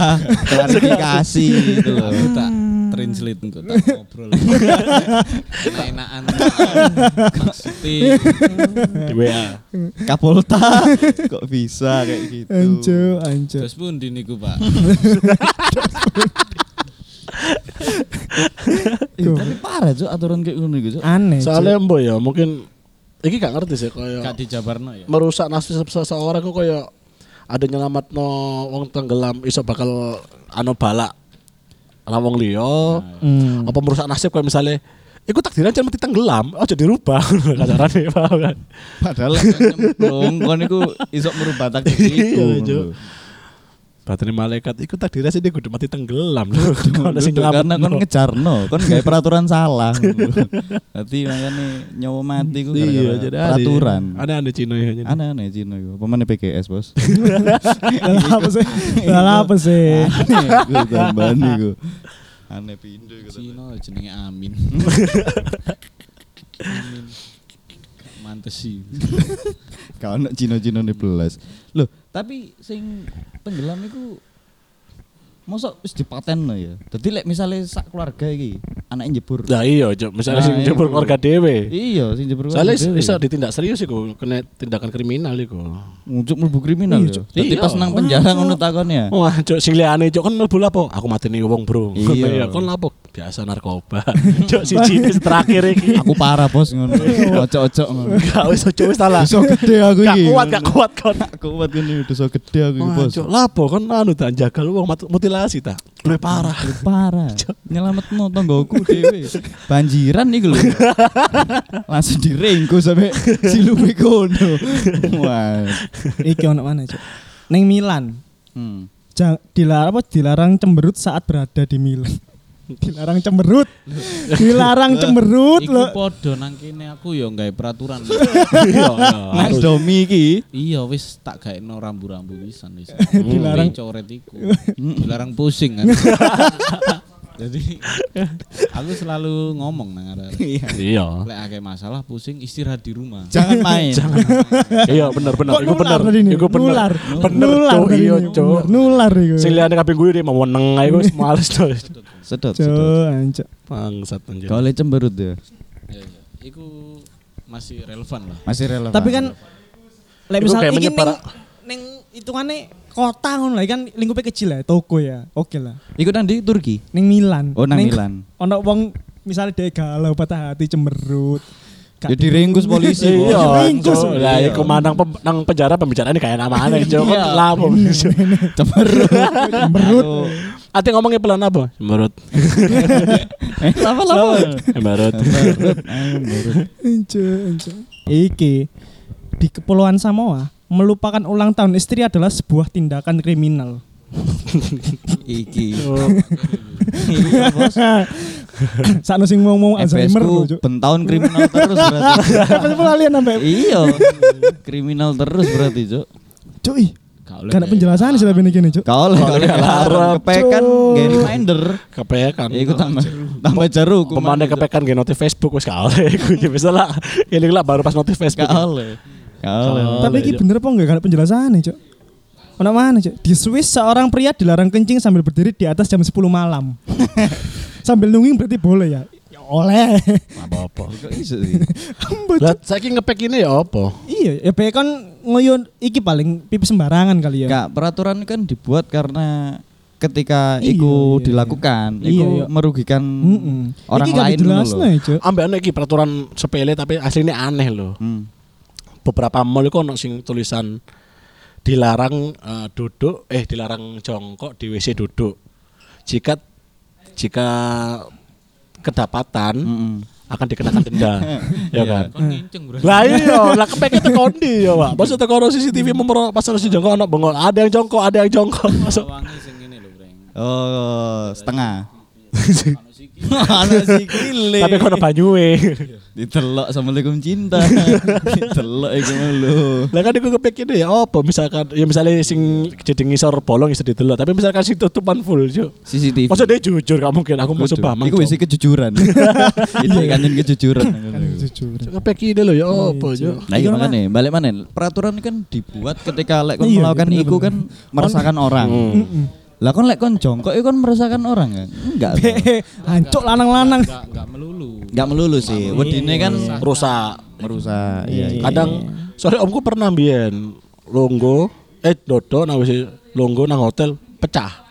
Speaker 1: klarifikasi gitu lho.
Speaker 5: aku tak translate engko tak ngobrol. Enakan. Maksudnya
Speaker 4: Di WA.
Speaker 1: Kapolta kok bisa kayak gitu.
Speaker 2: Anjo, anjo.
Speaker 5: terus pun di niku Pak.
Speaker 1: Ih, Tapi parah cuk aturan kayak ngono iku cuk.
Speaker 2: Aneh. Cuk.
Speaker 4: Soalnya mbok ya mungkin iki gak ngerti sih kayak
Speaker 5: Gak dijabarno ya.
Speaker 4: merusak nasib seseorang kok kayak ada nyelamat no wong tenggelam iso bakal ano balak lah wong liya
Speaker 2: Hmm.
Speaker 4: apa merusak Hmm. nasib kayak misalnya Iku takdiran jangan mati tenggelam, oh jadi rubah kacarane paham kan.
Speaker 1: Padahal lek kon nyemplung kon iku iso merubah taktik
Speaker 4: Iya,
Speaker 1: iku.
Speaker 4: Cuk.
Speaker 1: ngono lho.
Speaker 4: Batin malaikat iku takdiran sih dia kudu mati tenggelam lho. Kalau sing
Speaker 1: Duduk karena kan kon
Speaker 4: ngelametno.
Speaker 1: ngejarno, kon gawe peraturan salah. Dadi makane nyawa mati ku
Speaker 4: Iya,
Speaker 1: gara-gara
Speaker 4: jadi aneh.
Speaker 1: peraturan.
Speaker 4: Aneh-aneh Cina ya. jadi.
Speaker 1: Aneh-aneh Cina iku. Pemane PGS, Bos.
Speaker 2: Lah apa sih? Lah apa sih?
Speaker 1: Aneh iku tambahan iku. Aneh pindo iku.
Speaker 5: Cina jenenge Amin. Amin. Mantesi.
Speaker 1: Gak ono Cina-Cina ne belas. Loh, tapi sing tenggelam iku mosok wis dipaten ya. Dadi lek misale sak keluarga iki anake njebur.
Speaker 4: Lah iya, Cuk. misalnya
Speaker 1: Nah,
Speaker 4: sing
Speaker 1: iya.
Speaker 4: jebur keluarga dhewe.
Speaker 1: Iya, sing njebur.
Speaker 4: Soalnya
Speaker 1: keluarga dhewe.
Speaker 4: bisa ditindak serius iku, kena tindakan kriminal iku.
Speaker 1: Untuk mlebu kriminal ya.
Speaker 2: Iya,
Speaker 1: Dadi
Speaker 4: Iya.
Speaker 1: pas nang penjara ngono ya. takonnya.
Speaker 4: Wah, cok sing liyane cok kan mlebu lapo? Aku mateni wong, Bro.
Speaker 1: Iya.
Speaker 4: kon lapo? Biasa narkoba. cok siji wis terakhir iki.
Speaker 1: Aku parah bos ngono. Ocok-ocok ngono.
Speaker 4: Gak wis ojo wis salah.
Speaker 1: Dosa gede aku
Speaker 4: Gak
Speaker 1: iki.
Speaker 4: kuat, gak kuat kon.
Speaker 1: Gak kuat ngene dosa gede aku iki
Speaker 4: Wah,
Speaker 1: bos.
Speaker 4: cok lapo kon anu tak jagal wong mat- mutilasi ta. Luwih parah.
Speaker 1: Lu Parah. Nyelametno tanggoku dhewe. Banjiran iku lho. Langsung direnggo sampe silume kono. Wah.
Speaker 2: Nah, Iki ono mana, Cuk? Ning Milan.
Speaker 1: Hmm.
Speaker 2: Jang, dilarang apa dilarang cemberut saat berada di Milan. dilarang cemberut. dilarang cemberut
Speaker 5: Iku
Speaker 2: lho.
Speaker 5: podo nang kene aku ya nggawe peraturan.
Speaker 4: Iya.
Speaker 1: Mas Domi iki.
Speaker 5: Iya wis tak gaekno rambu-rambu pisan wis.
Speaker 2: Dilarang.
Speaker 5: Dilarang coret iku. Dilarang pusing kan. Jadi aku selalu ngomong nang arek.
Speaker 4: Iya.
Speaker 5: Lek akeh masalah pusing istirahat di rumah.
Speaker 1: Jangan main.
Speaker 4: Iya bener bener.
Speaker 2: Kok
Speaker 4: Iku bener.
Speaker 2: nular tadi ini?
Speaker 4: Iku bener.
Speaker 2: Nular.
Speaker 4: Bener
Speaker 2: Nular
Speaker 4: cok.
Speaker 2: tadi
Speaker 4: Iya
Speaker 2: ini.
Speaker 4: cok.
Speaker 2: Nular iku.
Speaker 4: Sing liyane kabeh gue dia mau meneng ae wis males cok.
Speaker 1: Sedot, sedot.
Speaker 2: Cuk, anjir.
Speaker 4: Bangsat anjir.
Speaker 1: Kau oleh cemberut ya.
Speaker 5: Ya, ya. Iku masih relevan lah.
Speaker 1: Masih relevan.
Speaker 2: Tapi kan lek
Speaker 4: Iku
Speaker 2: misal
Speaker 4: kayak
Speaker 2: iki ning
Speaker 4: menyebar-
Speaker 2: ning hitungane kota ngono lah kan lingkupe kecil ya, toko ya. Oke lah.
Speaker 1: ikut nang di Turki.
Speaker 2: Ning Milan.
Speaker 1: Oh, nang
Speaker 2: Ning-
Speaker 1: Milan.
Speaker 2: Ono wong misalnya dia galau patah hati cemberut. Gak-
Speaker 1: Ya diringkus polisi. Bos.
Speaker 4: Iya,
Speaker 2: Ringkus,
Speaker 4: Cok. lah
Speaker 1: iya.
Speaker 4: iku mandang pem, nang penjara pembicaraan kayak nama aneh, Cok. Kan lapo. Cok.
Speaker 1: Cemberut.
Speaker 2: Cemberut.
Speaker 4: Ate ngomongnya pelan apa? Cemberut.
Speaker 1: Eh, apa lama?
Speaker 4: Cemberut.
Speaker 2: Anjir, anjir. Iki di Kepulauan Samoa melupakan ulang tahun istri adalah sebuah tindakan kriminal.
Speaker 1: Iki. Iya, bos.
Speaker 2: Saat sing mau mau
Speaker 1: FPS
Speaker 2: Alzheimer
Speaker 1: ku
Speaker 2: lho, Cuk.
Speaker 1: bentahun kriminal terus berarti.
Speaker 2: Tapi pelalian sampai
Speaker 1: iya. Kriminal terus berarti, Cuk.
Speaker 2: cuy.
Speaker 5: Gak
Speaker 2: Karena penjelasan sih lebih gini Cuk.
Speaker 1: Kau oleh
Speaker 4: Kau oleh alarm,
Speaker 1: kepekan
Speaker 2: Cuk. Kan
Speaker 1: game reminder.
Speaker 4: Kepekan.
Speaker 1: Iku tambah tambah jeruk.
Speaker 4: Pemandai kepekan gak notif Facebook wis kale. Iku ya bisa lah. Ini lah baru pas notif Facebook.
Speaker 1: Gak oleh. Gak oleh.
Speaker 4: Kau
Speaker 2: Tapi
Speaker 4: oleh,
Speaker 2: iki
Speaker 4: Cuk.
Speaker 2: bener apa enggak karena penjelasan Cuk? Ono mana Cuk? Di Swiss seorang pria dilarang kencing sambil berdiri di atas jam 10 malam. sambil nungging berarti boleh ya? Ya oleh.
Speaker 4: Apa-apa.
Speaker 1: Kok iso sih?
Speaker 4: Lah saiki ngepek ini ya apa?
Speaker 2: iya, ya baik kan ngoyon iki paling pipis sembarangan kali ya.
Speaker 1: Gak peraturan kan dibuat karena ketika
Speaker 2: Iya,
Speaker 1: iku
Speaker 2: iya,
Speaker 1: dilakukan,
Speaker 2: iya.
Speaker 1: iku
Speaker 2: Iya, iya.
Speaker 1: merugikan
Speaker 2: Mm-mm.
Speaker 1: orang
Speaker 2: iki gak
Speaker 1: lain
Speaker 2: dijelasno ya, Cuk.
Speaker 4: Ambek ana iki peraturan sepele tapi aslinya aneh loh.
Speaker 1: Hmm.
Speaker 4: Beberapa mall iku ono sing tulisan dilarang eh, duduk eh dilarang jongkok di WC duduk. Jika jika kedapatan
Speaker 1: Mm-mm.
Speaker 4: akan dikenakan denda. ya kan?
Speaker 5: Kon nginceng berarti.
Speaker 4: Lah iya, lah kepeke teko ndi ya, Pak? Maksud teko ono CCTV memero pas ono sing jongkok ono bengol, ada yang jongkok, ada yang jongkok. Masuk
Speaker 5: Wangi sing ngene lho, Breng.
Speaker 1: Oh, setengah. Anak sikile.
Speaker 4: tapi kono banyue.
Speaker 1: Ditelok Assalamualaikum cinta. Ditelok iku mau lho.
Speaker 4: Lah kan iku kepeke ya apa misalkan ya misalnya sing jadi ngisor bolong iso didelok, tapi misalkan sing tutupan full yo.
Speaker 1: CCTV.
Speaker 4: Masa dia jujur gak mungkin aku mau coba mang.
Speaker 1: Iku wis kejujuran. Itu kan yang kejujuran.
Speaker 2: Iya. Jujur.
Speaker 4: kepeke ide lho ya apa yo.
Speaker 1: Nah, iya makane, balik mana? Peraturan kan dibuat ketika lek kon
Speaker 2: Iya,
Speaker 1: melakukan
Speaker 2: bener,
Speaker 1: iku
Speaker 2: bener.
Speaker 1: kan meresahkan orang. Lah kon lek kon jongkok iku kan meresahkan orang kan? Enggak.
Speaker 2: Be, hancuk lanang-lanang.
Speaker 5: Gak gak melulu.
Speaker 1: Enggak melulu
Speaker 2: Iya.
Speaker 1: sih. Wedine kan
Speaker 4: Rusak.
Speaker 1: merusak. Iya, iya.
Speaker 4: Kadang soalnya omku pernah mbiyen longgo eh dodo nang WC longgo nang hotel pecah.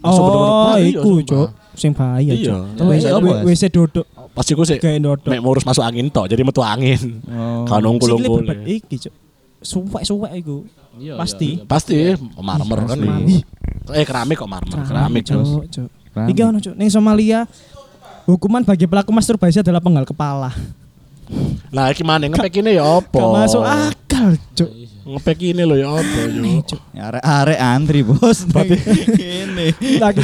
Speaker 4: Langsung bener-bener
Speaker 2: Oh,
Speaker 4: pecah, iya,
Speaker 2: iku,
Speaker 4: sumpah.
Speaker 2: Cuk. Sing bahaya,
Speaker 4: Iya.
Speaker 2: Cuk. WC
Speaker 1: Iya,
Speaker 2: apa?
Speaker 1: Mas?
Speaker 2: WC dodok.
Speaker 4: Pas iku sih
Speaker 2: Kayak dodok.
Speaker 4: mek ngurus masuk angin tok, jadi metu angin.
Speaker 1: Oh.
Speaker 4: Kan nunggu
Speaker 2: Sikile
Speaker 4: longgo.
Speaker 2: bebat iki, Cuk. Suwek-suwek iku.
Speaker 5: Iya,
Speaker 2: Pasti.
Speaker 4: Pasti marmer kan. Eh keramik kok marmer, keramik terus.
Speaker 2: Cuk. Iki ono, Cuk. Ning Somalia Hukuman bagi pelaku masturbasi adalah penggal kepala.
Speaker 4: Lah iki maneh ngepek ini ya apa?
Speaker 2: Gak masuk akal, Cuk.
Speaker 4: Ngepek ini lho ya apa yo.
Speaker 1: Arek arek iya. antri bos. Tapi ini.
Speaker 2: Lagi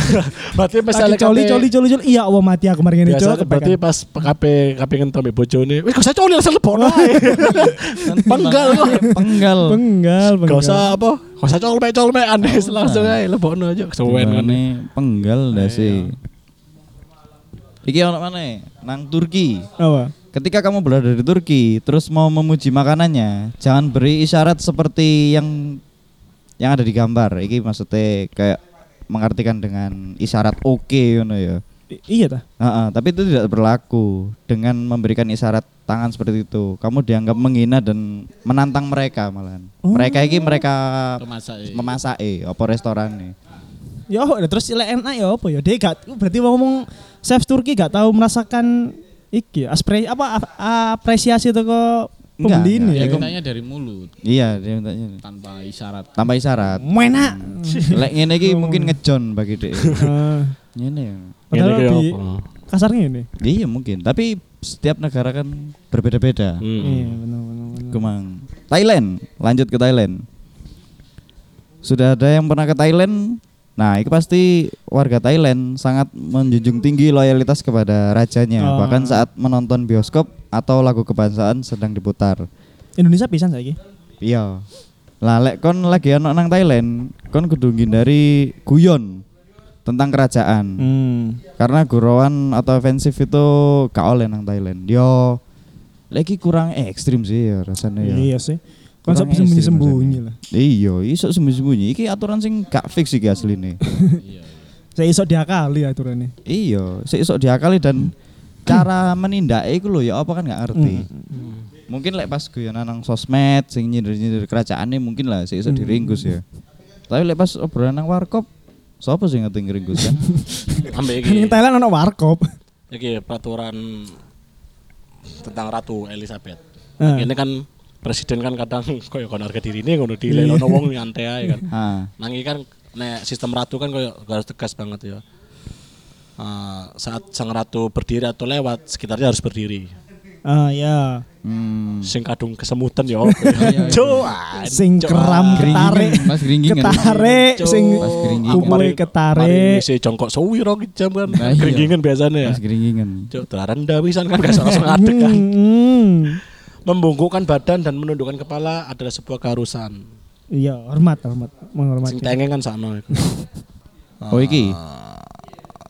Speaker 4: Berarti
Speaker 2: lagi
Speaker 4: misalnya
Speaker 2: coli coli coli coli. Iya, wah mati aku kemarin ini,
Speaker 4: Biasanya
Speaker 2: Cuk.
Speaker 4: berarti
Speaker 2: Kepekan. Oh, iya.
Speaker 4: pas PKP KP ngentom mbek bojone, wis kok saya coli langsung lebon ae. Penggal kok.
Speaker 1: Penggal.
Speaker 2: Penggal,
Speaker 4: Gak
Speaker 2: penggal.
Speaker 4: usah apa? Gak usah colmek colmek aneh langsung ae lebon aja kesuwen kan.
Speaker 1: Timbangane penggal
Speaker 2: Iya.
Speaker 1: dah sih. Iki ono mana? Nang Turki.
Speaker 2: Apa?
Speaker 1: Ketika kamu berada di Turki, terus mau memuji makanannya, jangan beri isyarat seperti yang yang ada di gambar. Iki maksudnya kayak mengartikan dengan isyarat oke ngono ya.
Speaker 2: I- Iya ta?
Speaker 1: Heeh, tapi itu tidak berlaku dengan memberikan isyarat tangan seperti itu. Kamu dianggap menghina dan menantang mereka malahan. Mereka ini mereka
Speaker 5: Memasak, iya.
Speaker 1: memasak apa restoran nih.
Speaker 2: Ya, oh, terus ilek enak ya apa ya? Dia gak berarti wong ngomong chef Turki gak tahu merasakan iki ya? aspre apa ap- apresiasi itu ke
Speaker 1: Enggak,
Speaker 2: pembeli ini
Speaker 1: enggak.
Speaker 2: ya.
Speaker 5: Ya kitanya dari mulut
Speaker 1: Iya, dia mintanya.
Speaker 5: tanpa isyarat.
Speaker 1: Tambah isyarat.
Speaker 2: Enak.
Speaker 1: Lek ngene iki mungkin ngejon bagi dhek.
Speaker 2: Eh,
Speaker 1: Ngene. ya.
Speaker 2: Padahal
Speaker 4: Ngene iki
Speaker 2: lebih
Speaker 4: apa?
Speaker 2: kasarnya ini.
Speaker 1: Iya mungkin, tapi setiap negara kan berbeda-beda.
Speaker 4: Hmm.
Speaker 2: Iya, benar benar. benar.
Speaker 1: Kemang. Thailand, lanjut ke Thailand. Sudah ada yang pernah ke Thailand? Nah, itu pasti warga Thailand sangat menjunjung tinggi loyalitas kepada rajanya,
Speaker 2: Oh.
Speaker 1: bahkan saat menonton bioskop atau lagu kebangsaan sedang diputar.
Speaker 2: Indonesia pisan saiki.
Speaker 1: Iya. Lah lek kon lagi ana nang Thailand, kon kudu ngindari guyon tentang kerajaan.
Speaker 2: Hmm.
Speaker 1: Karena gurauan atau ofensif itu gak oleh nang Thailand. Yo lagi kurang ekstrim sih ya rasanya ya.
Speaker 2: Iya sih. Konsep
Speaker 1: Kurang ekstrim
Speaker 2: sembunyi-sembunyi
Speaker 1: rasanya.
Speaker 2: lah.
Speaker 1: Iya, iso sembunyi-sembunyi. Iki aturan sing gak fix iki asline.
Speaker 2: Saya iso diakali aturane.
Speaker 1: iya, sik iso diakali dan cara menindaknya iku lho ya apa kan gak ngerti. Mungkin lek pas guyonan nang sosmed sing nyindir-nyindir kerajaane mungkin lah sik iso diringkus ya. Tapi lek pas obrolan nang warkop Sopo sih ngerti ngeringkus kan?
Speaker 4: Ambek
Speaker 2: Kan
Speaker 4: iki.
Speaker 2: ning Thailand ono warkop.
Speaker 4: Iki peraturan tentang Ratu Elizabeth.
Speaker 2: Eh.
Speaker 4: Ini kan presiden kan kadang koyo kon harga dirine
Speaker 2: Iya.
Speaker 4: ngono dilelono wong nyantai ae kan.
Speaker 1: Ah,
Speaker 4: Nang iki kan nek sistem ratu kan koyo harus tegas banget ya. Ah, saat sang ratu berdiri atau lewat sekitarnya harus berdiri.
Speaker 2: Ah ya.
Speaker 1: hmm.
Speaker 4: Sing kadung kesemutan ya. opo ya. Cuan.
Speaker 2: Sing keram tarik.
Speaker 1: Mas kan. geringgingan.
Speaker 2: Ketarik sing
Speaker 1: Pas keringin.
Speaker 2: kumpule
Speaker 4: Mari
Speaker 2: ketarik.
Speaker 4: ngisi jongkok sewiro jam kan.
Speaker 1: Nah, iya.
Speaker 4: Keringgingan biasanya ya.
Speaker 1: Mas geringgingan.
Speaker 4: Cuk, telaran dawisan kan gak langsung ngadeg kan.
Speaker 2: Hmm.
Speaker 4: Membungkukkan badan dan menundukkan kepala adalah sebuah keharusan.
Speaker 2: Iya, hormat, hormat, menghormati.
Speaker 4: Sing tengeng kan sakno iku.
Speaker 1: Oh iki
Speaker 4: Ah,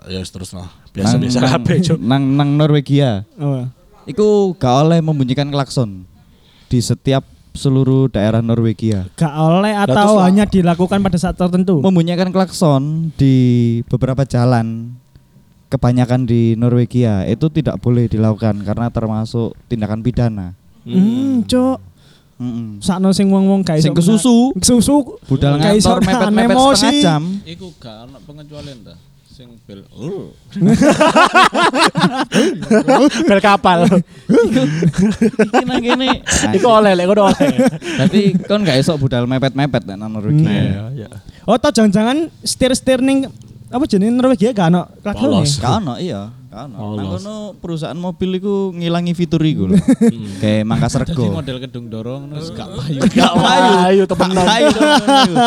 Speaker 4: Ya wis terus lah. Biasa-biasa kabeh, Cuk.
Speaker 1: nang nang Norwegia.
Speaker 2: Oh.
Speaker 1: Iku gak oleh membunyikan klakson di setiap seluruh daerah Norwegia.
Speaker 2: Gak oleh atau hanya dilakukan pada saat tertentu.
Speaker 1: Membunyikan klakson di beberapa jalan kebanyakan di Norwegia itu tidak boleh dilakukan karena termasuk tindakan pidana.
Speaker 2: Hmm, cok.
Speaker 1: Mm-mm.
Speaker 2: Sakno sing wong-wong gak iso
Speaker 1: Sing kesusu,
Speaker 2: menak- Kesusu.
Speaker 1: budal
Speaker 2: Gak iso
Speaker 1: ngantor
Speaker 2: menahan
Speaker 1: mepet-mepet
Speaker 2: emosi.
Speaker 1: setengah jam.
Speaker 5: Iku gak ono pengecualian ta. Sing bel. Uh.
Speaker 4: Bel kapal.
Speaker 1: Iki nang kene.
Speaker 4: Iku oleh lek ngono oleh.
Speaker 1: Nah, Berarti kon gak esok budal mepet-mepet nek nang Norwegia.
Speaker 2: Oh, toh jangan-jangan setir-setir ning apa jenenge Norwegia gak ono klaksone.
Speaker 4: Polos.
Speaker 1: Gak ono iya, gak ono. Nang
Speaker 4: Allah.
Speaker 1: kono perusahaan mobil iku ngilangi fitur iku lho. Kayak Mangkas
Speaker 5: Jadi
Speaker 1: Rego.
Speaker 5: model gedung dorong terus gak payu.
Speaker 4: Gak payu temenan.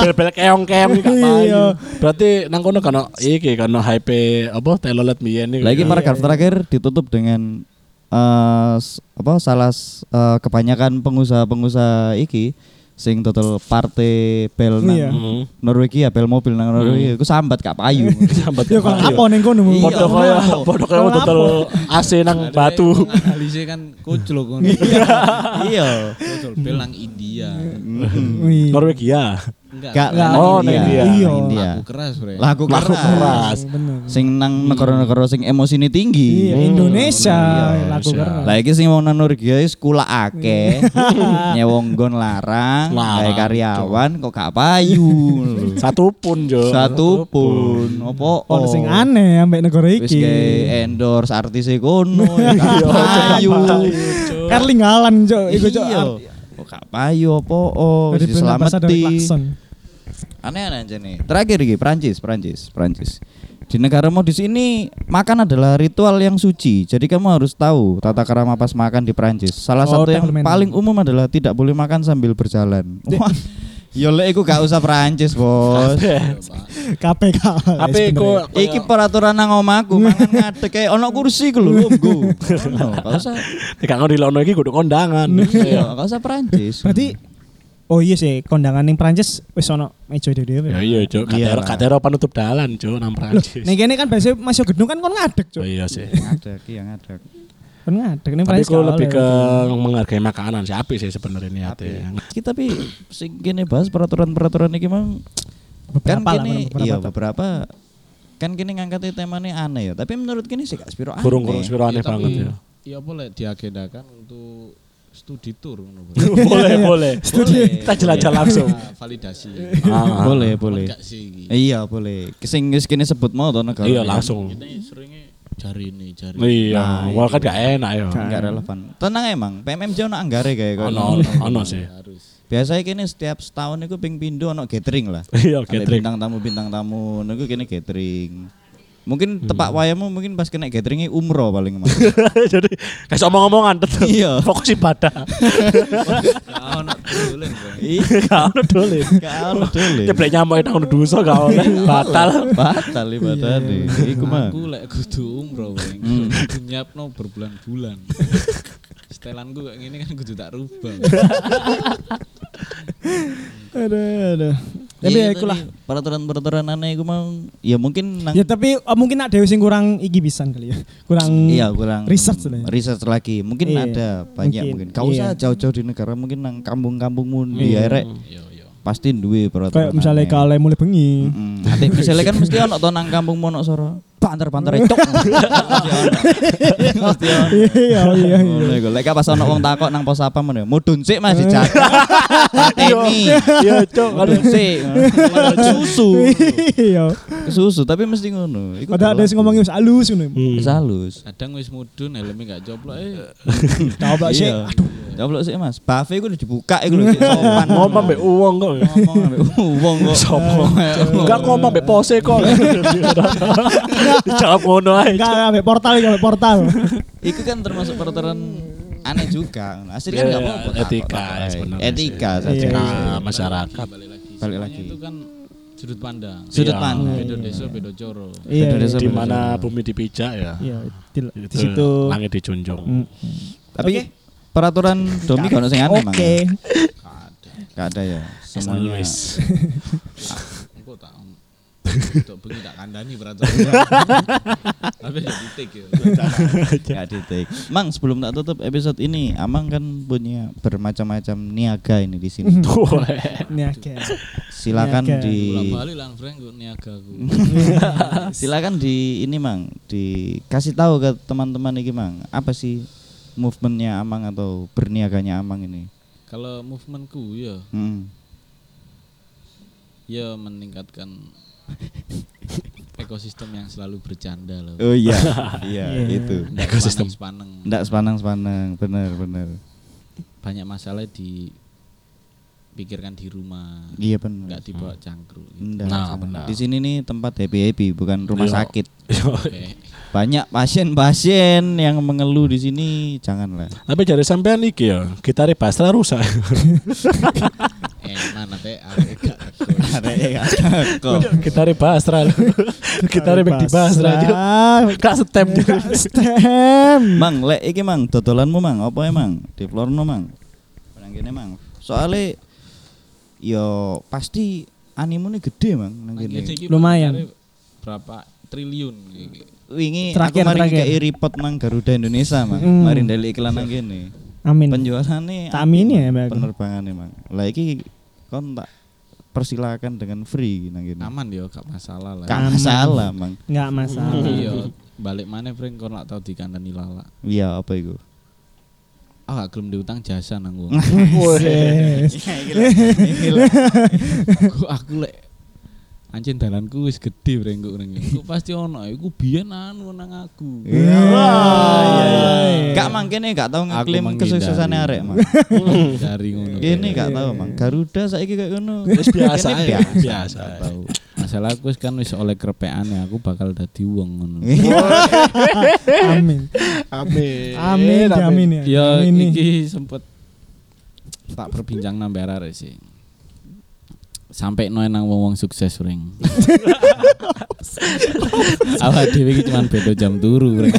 Speaker 4: Bel-bel keong-keong
Speaker 2: Iya.
Speaker 4: gak payu. Berarti nang kono kan iki kan HP apa telolet mbiyen Iya. iku.
Speaker 1: Lagi paragraf terakhir ditutup dengan eh, s- apa salah s- eh, kebanyakan pengusaha-pengusaha iki sing total partai bel nang
Speaker 2: Iya.
Speaker 4: Heeh.
Speaker 1: Norwegia bel mobil nang Norwegia iku sambat gak payu.
Speaker 4: Sambat.
Speaker 2: Ya kok
Speaker 4: payu.
Speaker 2: apa ning kono?
Speaker 1: Iya.
Speaker 4: Podo kaya podo kaya
Speaker 2: Kalau
Speaker 4: total AC nang batu.
Speaker 5: Analisis kan kucluk ngono.
Speaker 1: iya.
Speaker 5: Kucluk bel nang India.
Speaker 2: Wih.
Speaker 4: Norwegia.
Speaker 5: Enggak.
Speaker 1: Gak
Speaker 2: Nggak.
Speaker 4: Oh, nang India.
Speaker 1: Iya. India.
Speaker 5: Laku keras, Bre.
Speaker 1: Lagu
Speaker 4: Laku
Speaker 1: keras.
Speaker 4: keras.
Speaker 2: Bener.
Speaker 1: Sing nang negara-negara sing emosine tinggi.
Speaker 2: Iya, Indonesia
Speaker 4: Iya,
Speaker 2: laku
Speaker 4: Indonesia.
Speaker 2: keras.
Speaker 1: Lah iki sing wong nang Norwegia wis kula akeh. Nyewong nggon larang,
Speaker 4: Larang,
Speaker 1: kayak karyawan kok gak payu.
Speaker 4: Satu pun Jo.
Speaker 1: Satu pun opo.
Speaker 2: Oh, sing aneh ambek negara
Speaker 1: Wis
Speaker 2: iki.
Speaker 1: kayak endorse artis e kono ya gak
Speaker 4: Iya,
Speaker 1: payu.
Speaker 2: Erling Haaland, cok. Iku cok.
Speaker 1: Iya. Kok gak payu opo oh
Speaker 2: Dari
Speaker 1: wis
Speaker 2: penampasan dari
Speaker 1: diselameti.
Speaker 2: klakson.
Speaker 1: Aneh-aneh aja nih. Terakhir iki Prancis, Prancis, Prancis. Di negara mau di sini makan adalah ritual yang suci. Jadi kamu harus tahu tata krama pas makan di Prancis. Salah
Speaker 2: Oh,
Speaker 1: satu yang
Speaker 2: table manners.
Speaker 1: paling umum adalah tidak boleh makan sambil berjalan. Wah, yo lek iku gak usah Prancis, Bos.
Speaker 2: KPK.
Speaker 4: Tapi
Speaker 2: sebenarnya.
Speaker 4: kok
Speaker 1: Iki peraturan nang omahku, mangan ngadeg kayak ono kursi ku lho, lungguh. Ono, gak usah.
Speaker 4: Gak ngerti lono iki kudu kondangan.
Speaker 1: Iya,
Speaker 4: Iya.
Speaker 1: gak usah Prancis.
Speaker 2: berarti oh iya sih kondangan yang Prancis wis ono meja dhewe.
Speaker 4: Ya iya, Cuk.
Speaker 1: Iya
Speaker 4: Katero
Speaker 1: lah.
Speaker 4: katero penutup dalan, Cuk, nang
Speaker 2: Loh,
Speaker 4: Prancis.
Speaker 2: ning kene kan biasanya masuk gedung kan kon ngadeg,
Speaker 4: Oh
Speaker 2: Cuk.
Speaker 4: iya sih.
Speaker 1: ngadeg, iya ngadeg.
Speaker 2: Kon ngadeg ning
Speaker 4: Tapi
Speaker 2: Prancis.
Speaker 4: aku
Speaker 2: gak
Speaker 4: lebih
Speaker 2: oleh.
Speaker 4: ke menghargai makanan sih, apik sih sebenarnya niatnya.
Speaker 1: Kita tapi sing kene bahas peraturan-peraturan iki mang
Speaker 2: beberapa
Speaker 1: kan
Speaker 2: lah,
Speaker 1: kene
Speaker 2: beberapa
Speaker 1: iya
Speaker 2: tak.
Speaker 1: beberapa kan kene ngangkat temanya aneh ya, tapi menurut kene sih gak spiro aneh.
Speaker 4: Burung-burung spiro aneh banget ya.
Speaker 5: Ya boleh diagendakan untuk studi tour ngono, Bro.
Speaker 4: boleh, boleh.
Speaker 1: Boleh.
Speaker 4: Kita jelajah langsung.
Speaker 5: Ah, validasi.
Speaker 4: Ah,
Speaker 1: boleh, boleh.
Speaker 5: Enggak sih iki.
Speaker 1: Iya, boleh. Sing wis kene sebut mau to negara. ya?
Speaker 4: Iya, langsung.
Speaker 5: Kita seringnya jari ini, jari.
Speaker 4: Iya, wal kan gak enak ya.
Speaker 1: Enggak relevan. Tenang ya, emang, PMMJ ono anggare kayak kok.
Speaker 4: Ono, ono, ono sih.
Speaker 5: Harus.
Speaker 1: Biasanya kene setiap setahun iku ping pindho ono gathering lah.
Speaker 4: Iya,
Speaker 1: Ambek
Speaker 4: catering.
Speaker 1: Bintang tamu bintang tamu niku kene gathering. Mungkin
Speaker 4: Hmm.
Speaker 1: tepak wayamu mungkin pas kena gatheringe umroh paling emang.
Speaker 4: Jadi kasih omong-omongan tetep.
Speaker 1: Iya.
Speaker 4: Fokus ibadah.
Speaker 5: Ah, ono dolen, Bro.
Speaker 4: Gak ono dole.
Speaker 1: Iya. Gak ono dole.
Speaker 4: Nyeblek nyamuk nang duso gak ono. Batal.
Speaker 1: Batal
Speaker 2: Iya.
Speaker 1: ibadahnya. Iku mah.
Speaker 5: Aku lek kudu umroh, Bang.
Speaker 4: Hmm.
Speaker 5: Kudu nyiapno berbulan-bulan. Setelanku kayak gini kan kudu tak rubah.
Speaker 2: Aduh,
Speaker 1: Iya,
Speaker 2: aduh. Tapi ya
Speaker 1: itu
Speaker 2: ikulah.
Speaker 1: nih, peraturan-peraturan aneh iku mah ya mungkin nang
Speaker 2: Ya tapi eh, mungkin ada dewe sing kurang iki pisan kali ya. Kurang
Speaker 1: Iya kurang
Speaker 2: research lah. ya.
Speaker 1: research lagi. Mungkin
Speaker 2: Iya,
Speaker 1: ada banyak mungkin.
Speaker 2: mungkin.
Speaker 1: Kau usah
Speaker 2: Iya.
Speaker 1: jauh-jauh di negara mungkin nang kampung-kampungmu di arek
Speaker 5: Yo yo.
Speaker 1: pasti duwe peraturan.
Speaker 2: Kayak misalnya
Speaker 1: aneh.
Speaker 2: kalau mulai
Speaker 1: ya.
Speaker 2: bengi.
Speaker 1: Mm-mm. Nanti misalnya kan mesti ono to nang kampung Monosoro. Panter-panter cok. Mesti ono.
Speaker 2: Iya, iya, iya.
Speaker 1: Ngono iku. Lek pas ono wong takok nang pos apa meneh, mudun sik Mas dijak. Pateni.
Speaker 4: Iya, cok.
Speaker 1: Mudun sik. Susu.
Speaker 2: Iya.
Speaker 1: Susu tapi mesti ngono. Iku
Speaker 2: Padahal ada
Speaker 1: berlaku.
Speaker 2: sing ngomongin wis alus ngono.
Speaker 1: Wis halus.
Speaker 5: Kadang wis mudun helme gak coplok eh.
Speaker 2: Coba sih.
Speaker 1: Iya. Coplok sik Mas. Bafe iku udah dibuka iku lho sik sopan.
Speaker 4: Ngomong mbek uang kok.
Speaker 1: ngomong ambek wong kok.
Speaker 4: Sopo?
Speaker 1: Enggak
Speaker 4: Enggak ngomong mbek pose kok. Dijawab ngono ae.
Speaker 2: Enggak, enggak, portal, enggak, portal.
Speaker 1: Iku kan termasuk peraturan aneh juga. Asli kan enggak
Speaker 4: Iya,
Speaker 1: apa-apa.
Speaker 4: etika
Speaker 1: takut,
Speaker 4: ya
Speaker 1: takut.
Speaker 4: sebenarnya
Speaker 1: Etika
Speaker 4: sih.
Speaker 1: saja.
Speaker 2: Iya.
Speaker 4: Nah, masyarakat.
Speaker 1: Balik
Speaker 5: Soalnya
Speaker 1: lagi.
Speaker 5: Itu kan sudut pandang.
Speaker 1: Sudut
Speaker 4: Iya.
Speaker 1: pandang.
Speaker 5: Beda desa, beda coro.
Speaker 2: Iya.
Speaker 1: Beda
Speaker 2: iya.
Speaker 1: desa.
Speaker 4: Di mana bumi dipijak ya.
Speaker 2: Iya, di- di
Speaker 4: itu
Speaker 2: situ.
Speaker 4: Langit dijunjung.
Speaker 2: Mm.
Speaker 1: Tapi peraturan Domi kan sing aneh emang. ya.
Speaker 2: Oke.
Speaker 1: Enggak ada ya. Semuanya.
Speaker 4: Wis.
Speaker 5: Engko tak um, untuk bengi tak kandani peraturan. Tapi ya titik ya.
Speaker 1: Enggak di take. Mang sebelum tak tutup episode ini, Amang kan punya bermacam-macam niaga ini di sini.
Speaker 2: Ini oke.
Speaker 1: Silakan
Speaker 2: Niaga.
Speaker 1: di
Speaker 5: Pulang balik lang Frank gue niagaku.
Speaker 1: silakan di ini Mang, dikasih tahu ke teman-teman iki Mang, apa sih movementnya Amang atau berniaganya Amang ini?
Speaker 5: Kalau movementku ya,
Speaker 1: Hmm.
Speaker 5: ya meningkatkan ekosistem yang selalu bercanda loh.
Speaker 1: Oh iya, iya itu.
Speaker 5: ekosistem paneng.
Speaker 1: Ndak sepanang-sepanang, bener bener.
Speaker 5: Banyak masalah dipikirkan di rumah.
Speaker 1: Iya bener.
Speaker 5: Enggak dibawa cangkruk gitu.
Speaker 1: Ndak.
Speaker 4: Nah,
Speaker 1: Cak.
Speaker 4: benar.
Speaker 1: Di sini nih tempat happy happy, bukan rumah
Speaker 4: Iya.
Speaker 1: sakit.
Speaker 5: Kayak
Speaker 1: Banyak pasien-pasien yang mengeluh di sini, janganlah.
Speaker 4: Tapi dari sampean iki ya, gitare Basra rusak.
Speaker 5: eh mana teh arek gak aku.
Speaker 1: Arek ya, kok.
Speaker 4: Gitare Basra. lho. Gitare mek di Basra. Cuk. Gak setem. Cuk.
Speaker 2: Stem.
Speaker 1: Mang, lek iki Mang, dodolanmu Mang, apa emang? Di Florno Mang. Nang kene Mang. Soale yo pasti animune gede Mang nang
Speaker 5: Makanya
Speaker 1: kene.
Speaker 5: iki
Speaker 2: Lumayan.
Speaker 5: pasare Berapa triliun iki.
Speaker 1: Wingi aku
Speaker 2: Terakhir,
Speaker 1: mari
Speaker 2: terakhir.
Speaker 1: kayak report Mang Garuda Indonesia Mang.
Speaker 2: Hmm.
Speaker 1: Mari ndelik iklan nang kene.
Speaker 2: Amin.
Speaker 1: penjualannya
Speaker 2: Tak amini ya, Mbak.
Speaker 1: penerbangan emang lah iki kon tak persilakan dengan free nang kene
Speaker 5: Aman ya gak masalah lah.
Speaker 1: gak masalah mang
Speaker 2: Enggak masalah.
Speaker 5: Iya, balik mana Frank kon lak tau dikandani lala.
Speaker 1: iya apa iku
Speaker 5: Ah gak gelem diutang jasa nang gua.
Speaker 2: Yes.
Speaker 5: aku aku lek anjen dalanku wis gede breng kok ngene. Iku pasti ono, iku biyen anu nang aku.
Speaker 1: Iya, gak mang kene gak tau
Speaker 5: Aku
Speaker 1: ngeklaim
Speaker 5: menghindari.
Speaker 1: kesuksesannya arek mang
Speaker 5: Dari ngono.
Speaker 2: Iya.
Speaker 1: kene gak tau mang Garuda saiki kayak ngono
Speaker 4: Wis biasa
Speaker 1: Kene
Speaker 4: ya,
Speaker 1: biasa.
Speaker 4: biasa.
Speaker 5: Tahu. Mas salah aku wis kan wis oleh krepeane aku bakal dadi wong ngono.
Speaker 1: Iya.
Speaker 2: Amin.
Speaker 4: Amin.
Speaker 2: Amin, amin ya.
Speaker 5: Ya
Speaker 2: Amin nih.
Speaker 5: iki sempet tak perbincang nambah arek sih. Sampai noe nang wong-wong sukses ring. Awak dhewe iki cuman beda jam turu ring.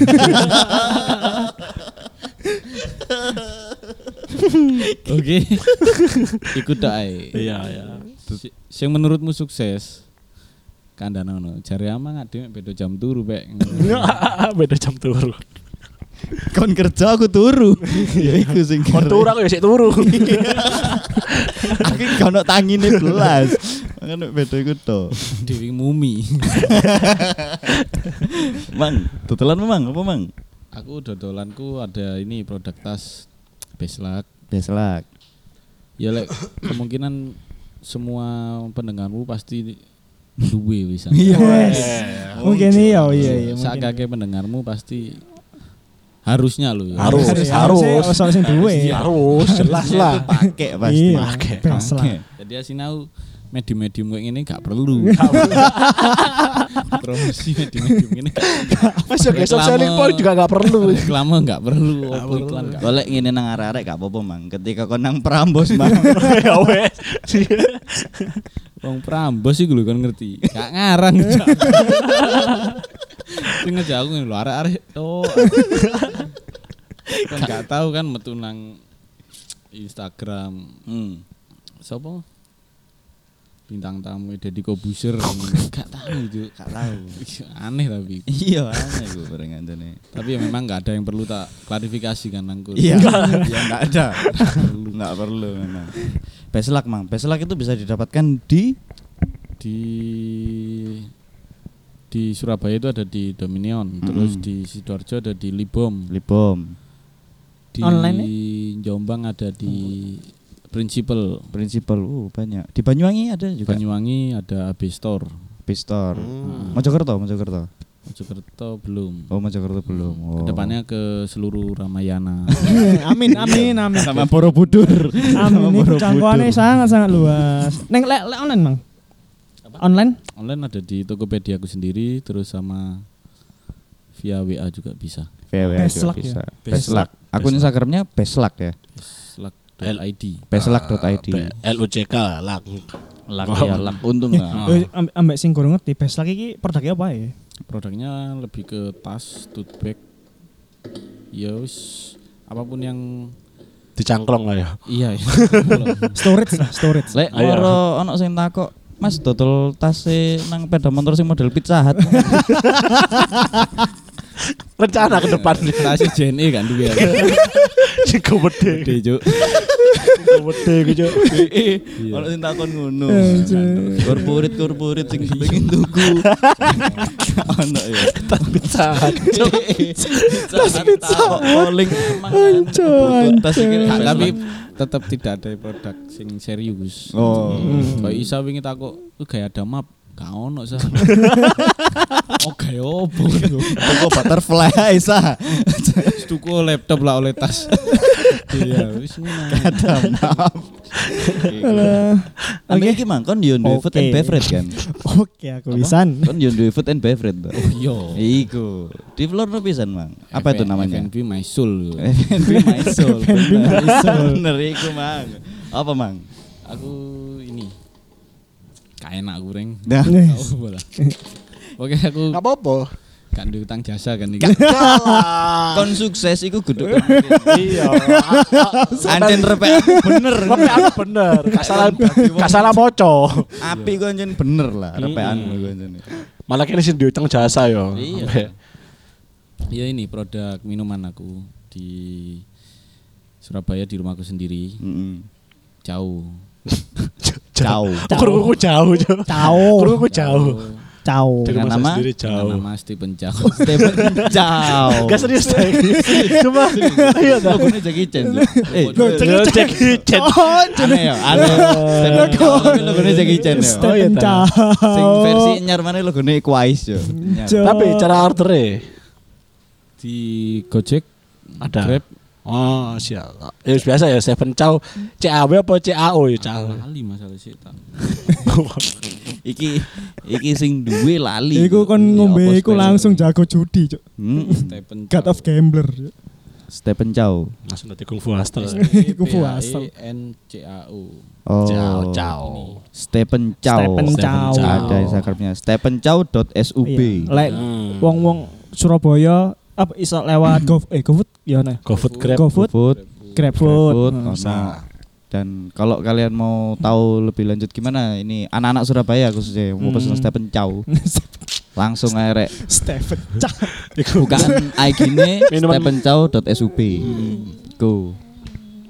Speaker 5: Oke. Iku tok ae.
Speaker 3: Iya, iya.
Speaker 5: Si- sing menurutmu sukses kandana ngono jare ama nggak dhewe beda jam turu pek
Speaker 4: iya.
Speaker 3: Beda jam turu.
Speaker 1: Kon kerja aku turu. ya iku sing.
Speaker 4: Kon turu aku ya sik turu.
Speaker 1: Aku gak ono tangine belas. Ngono beda iku to.
Speaker 5: dewi mumi
Speaker 1: Mang, tutulan memang apa mang?
Speaker 5: aku dodolanku ada ini produk tas beslak
Speaker 1: Beslak.
Speaker 5: ya lek kemungkinan semua pendengarmu pasti duwe wisan
Speaker 2: Yes. Iya, Mungkin iya, iya, iya. mungkin.
Speaker 5: sakake pendengarmu pasti harusnya lo ya.
Speaker 4: Harus,
Speaker 2: Harus,
Speaker 4: harus.
Speaker 2: harus. Harus yang duwe.
Speaker 4: Harus jelas lah.
Speaker 1: Pakai pasti.
Speaker 2: Iya, best lah.
Speaker 1: Pakai.
Speaker 5: jadi asinau medium-medium kayak ini gak perlu promosi medium-medium ini gak
Speaker 4: Masuk ya,
Speaker 5: Reklame.
Speaker 4: besok selling point juga nggak perlu.
Speaker 5: reklame nggak perlu opo iklan nggak
Speaker 1: Golek ngene nang arek-arek gak apa-apa mang. Ketika kon nang Prambos mang.
Speaker 4: Ya wes.
Speaker 5: Wong Prambos sih gue kan ngerti. Gak ngarang. Sing ngejak aku lho arek-arek. Oh. kan gak tahu kan metu nang Instagram.
Speaker 1: Hmm.
Speaker 5: Sopo? Bintang tamu Deddy Kobuser. gak tahu itu.
Speaker 1: Gak tahu.
Speaker 5: Aneh tapi.
Speaker 1: Iya, aneh gue bareng antene.
Speaker 5: Tapi ya memang gak ada yang perlu tak klarifikasi kan nangku.
Speaker 1: Iya, iya enggak ada. Nggak perlu, enggak perlu memang. Beslak mang, beslak itu bisa didapatkan di
Speaker 5: di di Surabaya itu ada di Dominion, terus di sidoarjo ada di Libom.
Speaker 1: Libom,
Speaker 5: di
Speaker 2: Online
Speaker 5: Jombang ada di
Speaker 1: Hmm.
Speaker 5: Principal
Speaker 1: Principal, uh banyak. Di Banyuwangi ada juga.
Speaker 5: Banyuwangi ada AB Store
Speaker 1: Pistor.
Speaker 2: Hmm.
Speaker 1: Mojokerto, Mojokerto.
Speaker 5: Mojokerto belum
Speaker 1: Oh, Mojokerto belum. Oh.
Speaker 5: kedepannya ke seluruh Ramayana
Speaker 2: Iya, Amin, amin, amin.
Speaker 1: sama Borobudur.
Speaker 2: Amin, ini jangkauannya sangat-sangat luas. Neng, lek lek online, Bang? Online?
Speaker 5: online ada di Tokopedia aku sendiri terus sama via WA juga bisa
Speaker 1: VW
Speaker 2: Beslak ya.
Speaker 1: Iya, bisa. Beslak. Akun Instagramnya Beslak ya.
Speaker 5: slack.id
Speaker 1: Beslak.id.
Speaker 2: Ah,
Speaker 4: LUCK lang. iya,
Speaker 5: lak
Speaker 1: Ya, lak. untung lah.
Speaker 5: Ah.
Speaker 2: Eh, ambe- Ambek sing kurang ngerti, best lagi iki produknya apa ya?
Speaker 5: produknya lebih ke tas tote bag ya wis, apapun yang
Speaker 4: Dicangklong lah ya.
Speaker 5: iya ya.
Speaker 2: Storage lah, storage.
Speaker 1: Lek
Speaker 4: Ayo.
Speaker 1: loro ono sing takok, Mas dodol tase nang peda motor sing model pizza hut.
Speaker 4: Rencana ke depan
Speaker 5: tas JNE kan duwe ya.
Speaker 4: Ciku
Speaker 5: Gede,
Speaker 4: gede,
Speaker 5: Cuk.
Speaker 4: gede gitu.
Speaker 5: Iya.
Speaker 1: Ono sing takon ngono. Korporit korporit sing kepengin tuku. Gak Ono ya. Tas pizza. Calling emang. Tas iki
Speaker 5: Nah,
Speaker 1: gak
Speaker 5: tapi
Speaker 1: tapi
Speaker 5: tetap tidak ada produk sing serius. Hmm.
Speaker 1: Oh.
Speaker 5: Kayak Isa wingi takok, "Lu gak ada map?" Gak ono sa. Oke, opo yo.
Speaker 1: toko butterfly ah, Isa.
Speaker 5: Wis Tuku laptop lah oleh tas. Iya, wis ngono.
Speaker 1: Oke iki mang kon yo duwe food and
Speaker 2: Oke.
Speaker 1: beverage kan.
Speaker 2: Oke, aku pisan.
Speaker 1: Kon yo duwe food and beverage. toh.
Speaker 5: Oh, Yo.
Speaker 1: Iku. Di floor no pisan mang. Apa itu namanya? Eh.
Speaker 5: FNB My Soul.
Speaker 1: FNB My Soul. bener. Bener iku mang. Apa mang?
Speaker 5: Aku ini kayak enak goreng.
Speaker 1: Nah.
Speaker 5: Oke, aku
Speaker 4: Enggak Eh. apa-apa.
Speaker 5: gak ada utang jasa kan iki.
Speaker 4: Jalan.
Speaker 1: Kon sukses iku guduk.
Speaker 4: Iya.
Speaker 1: Anjen repek bener.
Speaker 4: Tapi aku bener. Gak salah, gak salah moco.
Speaker 1: Api ku anjen bener lah repekan ku anjen.
Speaker 4: Malah kini sih diutang jasa yo.
Speaker 5: Iya. Iya ini produk minuman aku di Surabaya di rumahku sendiri
Speaker 1: Heeh.
Speaker 5: jauh.
Speaker 1: Jauh.
Speaker 4: Kuruku jauh, Jo.
Speaker 2: Cao,
Speaker 4: Kuruku jauh.
Speaker 2: cao.
Speaker 4: Di
Speaker 1: Dengan
Speaker 4: rumah saya
Speaker 1: nama?
Speaker 4: sendiri
Speaker 5: Dengan
Speaker 4: jauh.
Speaker 5: Nama Stephen Chow.
Speaker 1: Stephen Chow.
Speaker 4: Gak serius deh. Cuma iya dah.
Speaker 1: Logonya Jackie Chan. lho. Eh,
Speaker 4: Yo, Jackie
Speaker 2: Oh,
Speaker 4: Chan. Eh.
Speaker 1: aneh ya, aneh. Stephen Chow ini logone Jackie Chan ya.
Speaker 4: Oh, iya,
Speaker 2: Stephen
Speaker 4: ta.
Speaker 2: Chow.
Speaker 1: Sing versi nyar mana logone Equais yo. Nyar.
Speaker 2: Jo.
Speaker 4: Tapi cara ordernya
Speaker 5: di Gojek,
Speaker 4: Ada.
Speaker 5: Grab,
Speaker 4: Oh, siap. Ya wis biasa ya Seven Chow CAW apa CAO ya Chow.
Speaker 5: Lali masalah setan.
Speaker 1: iki iki sing duwe lali.
Speaker 2: Iku kon ngombe
Speaker 1: Iya,
Speaker 2: iku
Speaker 1: apa
Speaker 2: langsung jago judi, Cuk.
Speaker 1: Hmm.
Speaker 5: Stephen
Speaker 2: God of gambler. Cuk.
Speaker 1: Stephen Chow.
Speaker 4: Langsung dadi kungfu hustle.
Speaker 2: Iku
Speaker 5: iya,
Speaker 2: puasa.
Speaker 5: E N C A U.
Speaker 1: Oh.
Speaker 4: Chow Chow.
Speaker 1: Stephen Chow.
Speaker 2: Stephen Chow.
Speaker 1: Ada Instagramnya. stephenchow.sub.
Speaker 2: Iya. Lek
Speaker 4: Hmm.
Speaker 2: wong-wong Surabaya apa iso lewat Go eh GoFood ya ana.
Speaker 4: GoFood Grab.
Speaker 1: Hmm.
Speaker 2: GoFood, Hmm.
Speaker 1: Food,
Speaker 2: GrabFood.
Speaker 1: food,
Speaker 2: Heeh.
Speaker 1: ono. Nah, Dan kalau kalian mau tahu lebih lanjut gimana ini anak-anak Surabaya khususnya yang mau pesen
Speaker 2: Hmm.
Speaker 1: Stephen Chow langsung aja rek
Speaker 2: Stephen Cah.
Speaker 1: bukaan IG-ne
Speaker 4: Minuman-
Speaker 1: stephenchow.sub.
Speaker 2: Hmm.
Speaker 1: Go.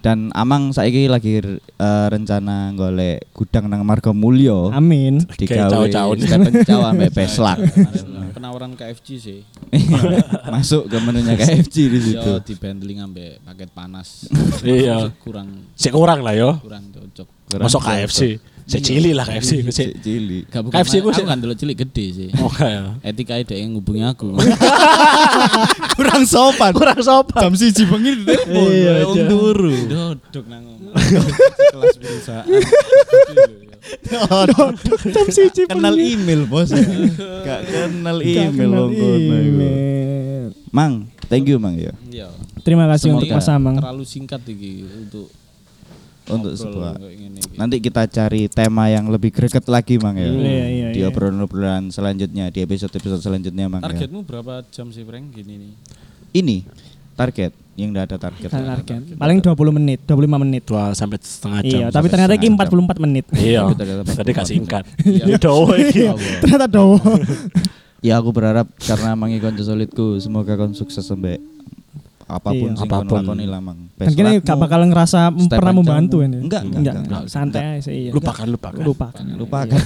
Speaker 1: Dan Amang saiki lagi eh, rencana golek gudang nang Marga Mulyo
Speaker 2: Amin.
Speaker 4: Kayak
Speaker 1: digawe
Speaker 4: cao-cao.
Speaker 1: Stephen Chow ambek peslak.
Speaker 4: Iya.
Speaker 5: Kemarin penawaran KFC sih.
Speaker 1: Masuk ke menunya KFC di situ.
Speaker 2: Iya.
Speaker 5: Yo di bundling ambek paket panas.
Speaker 4: Iya.
Speaker 5: Kurang
Speaker 4: Sik kurang lah yo.
Speaker 5: kurang cocok.
Speaker 4: Masuk KFC. Sik cilik lah KFC
Speaker 1: Iya.
Speaker 4: iku sik.
Speaker 1: Cili.
Speaker 5: Gak bukan
Speaker 4: KFC ku
Speaker 5: aku
Speaker 4: sih.
Speaker 5: kan dulu cilik gede sih.
Speaker 4: Oke ya.
Speaker 5: Etika ide yang ngubungi aku.
Speaker 1: Kurang sopan.
Speaker 4: Kurang sopan.
Speaker 1: Jam siji bengi di telepon.
Speaker 2: Iya.
Speaker 1: Wong turu.
Speaker 5: Dodok nang ngomong. Kelas perusahaan.
Speaker 2: Jam siji
Speaker 1: Kenal
Speaker 2: bengi.
Speaker 1: email, Bos. Gak kenal email
Speaker 2: Gak Iya, kenal
Speaker 1: wong kono iku.
Speaker 2: email.
Speaker 1: Mang, thank you Mang ya
Speaker 5: Iya.
Speaker 2: Terima kasih
Speaker 5: Semoga
Speaker 2: untuk Mas Amang.
Speaker 5: Terlalu singkat iki untuk
Speaker 1: untuk
Speaker 5: ngobrol
Speaker 1: sebuah
Speaker 5: kayak gini iki.
Speaker 1: Nanti kita cari tema yang lebih greget lagi Mang ya.
Speaker 2: Iya, iya,
Speaker 1: Di
Speaker 2: iya.
Speaker 1: obrolan-obrolan selanjutnya, di episode-episode selanjutnya
Speaker 5: iya.
Speaker 1: Mang ya.
Speaker 5: Targetmu berapa jam sih Frank gini nih?
Speaker 1: Ini target yang enggak ada target.
Speaker 2: Target. Paling 20 menit, 25 menit.
Speaker 4: Dua sampai setengah jam.
Speaker 2: Iya, tapi
Speaker 4: sampai
Speaker 2: ternyata ini
Speaker 4: setengah
Speaker 2: 44 menit.
Speaker 4: jam. Iya. Tadi gak singkat. Iya dowo iki.
Speaker 2: ternyata dowo.
Speaker 1: Ya aku berharap karena Mang Ikon solidku semoga kon sukses sampai apapun
Speaker 2: Iya.
Speaker 1: sing kon
Speaker 4: Apapun.
Speaker 1: lakoni lah Mang.
Speaker 2: Dan kini
Speaker 1: Peslakmu,
Speaker 2: gak bakal ngerasa
Speaker 1: Stefan
Speaker 2: pernah
Speaker 1: Chow
Speaker 2: membantu
Speaker 1: mu-
Speaker 2: ini.
Speaker 1: Enggak, enggak, enggak, enggak.
Speaker 2: santai aja sih. Iya.
Speaker 4: Lupakan lupakan.
Speaker 2: Lupakan.
Speaker 1: lupakan.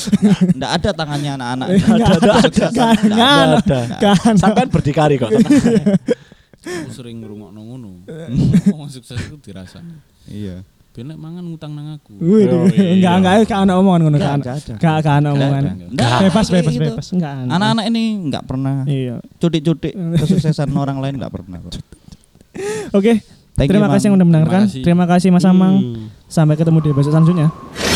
Speaker 1: Enggak ada tangannya anak-anak.
Speaker 2: Enggak Iya. ada, enggak ada, enggak ada. Enggak ada.
Speaker 4: Sampai berdikari kok.
Speaker 5: Aku sering ngrungokno ngono. Wong sukses itu dirasa.
Speaker 1: Iya.
Speaker 5: Benek mangan ngutang nang aku.
Speaker 2: Wih, enggak, enggak, enggak ada omongan ngono, enggak ada.
Speaker 1: Enggak ada.
Speaker 2: Enggak enggak ada omongan.
Speaker 1: Enggak ada.
Speaker 2: Bebas,
Speaker 1: Kayak
Speaker 2: bebas,
Speaker 1: gitu.
Speaker 2: bebas. Enggak ada.
Speaker 1: Anak-anak ini enggak pernah
Speaker 2: Iya.
Speaker 1: cudik-cudik kesuksesan orang lain enggak pernah kok.
Speaker 2: Oke,
Speaker 1: Thank you,
Speaker 2: terima
Speaker 1: Mang.
Speaker 2: kasih yang udah mendengarkan.
Speaker 5: Terima kasih.
Speaker 2: Terima kasih Mas Amang. Sampai ketemu di episode selanjutnya.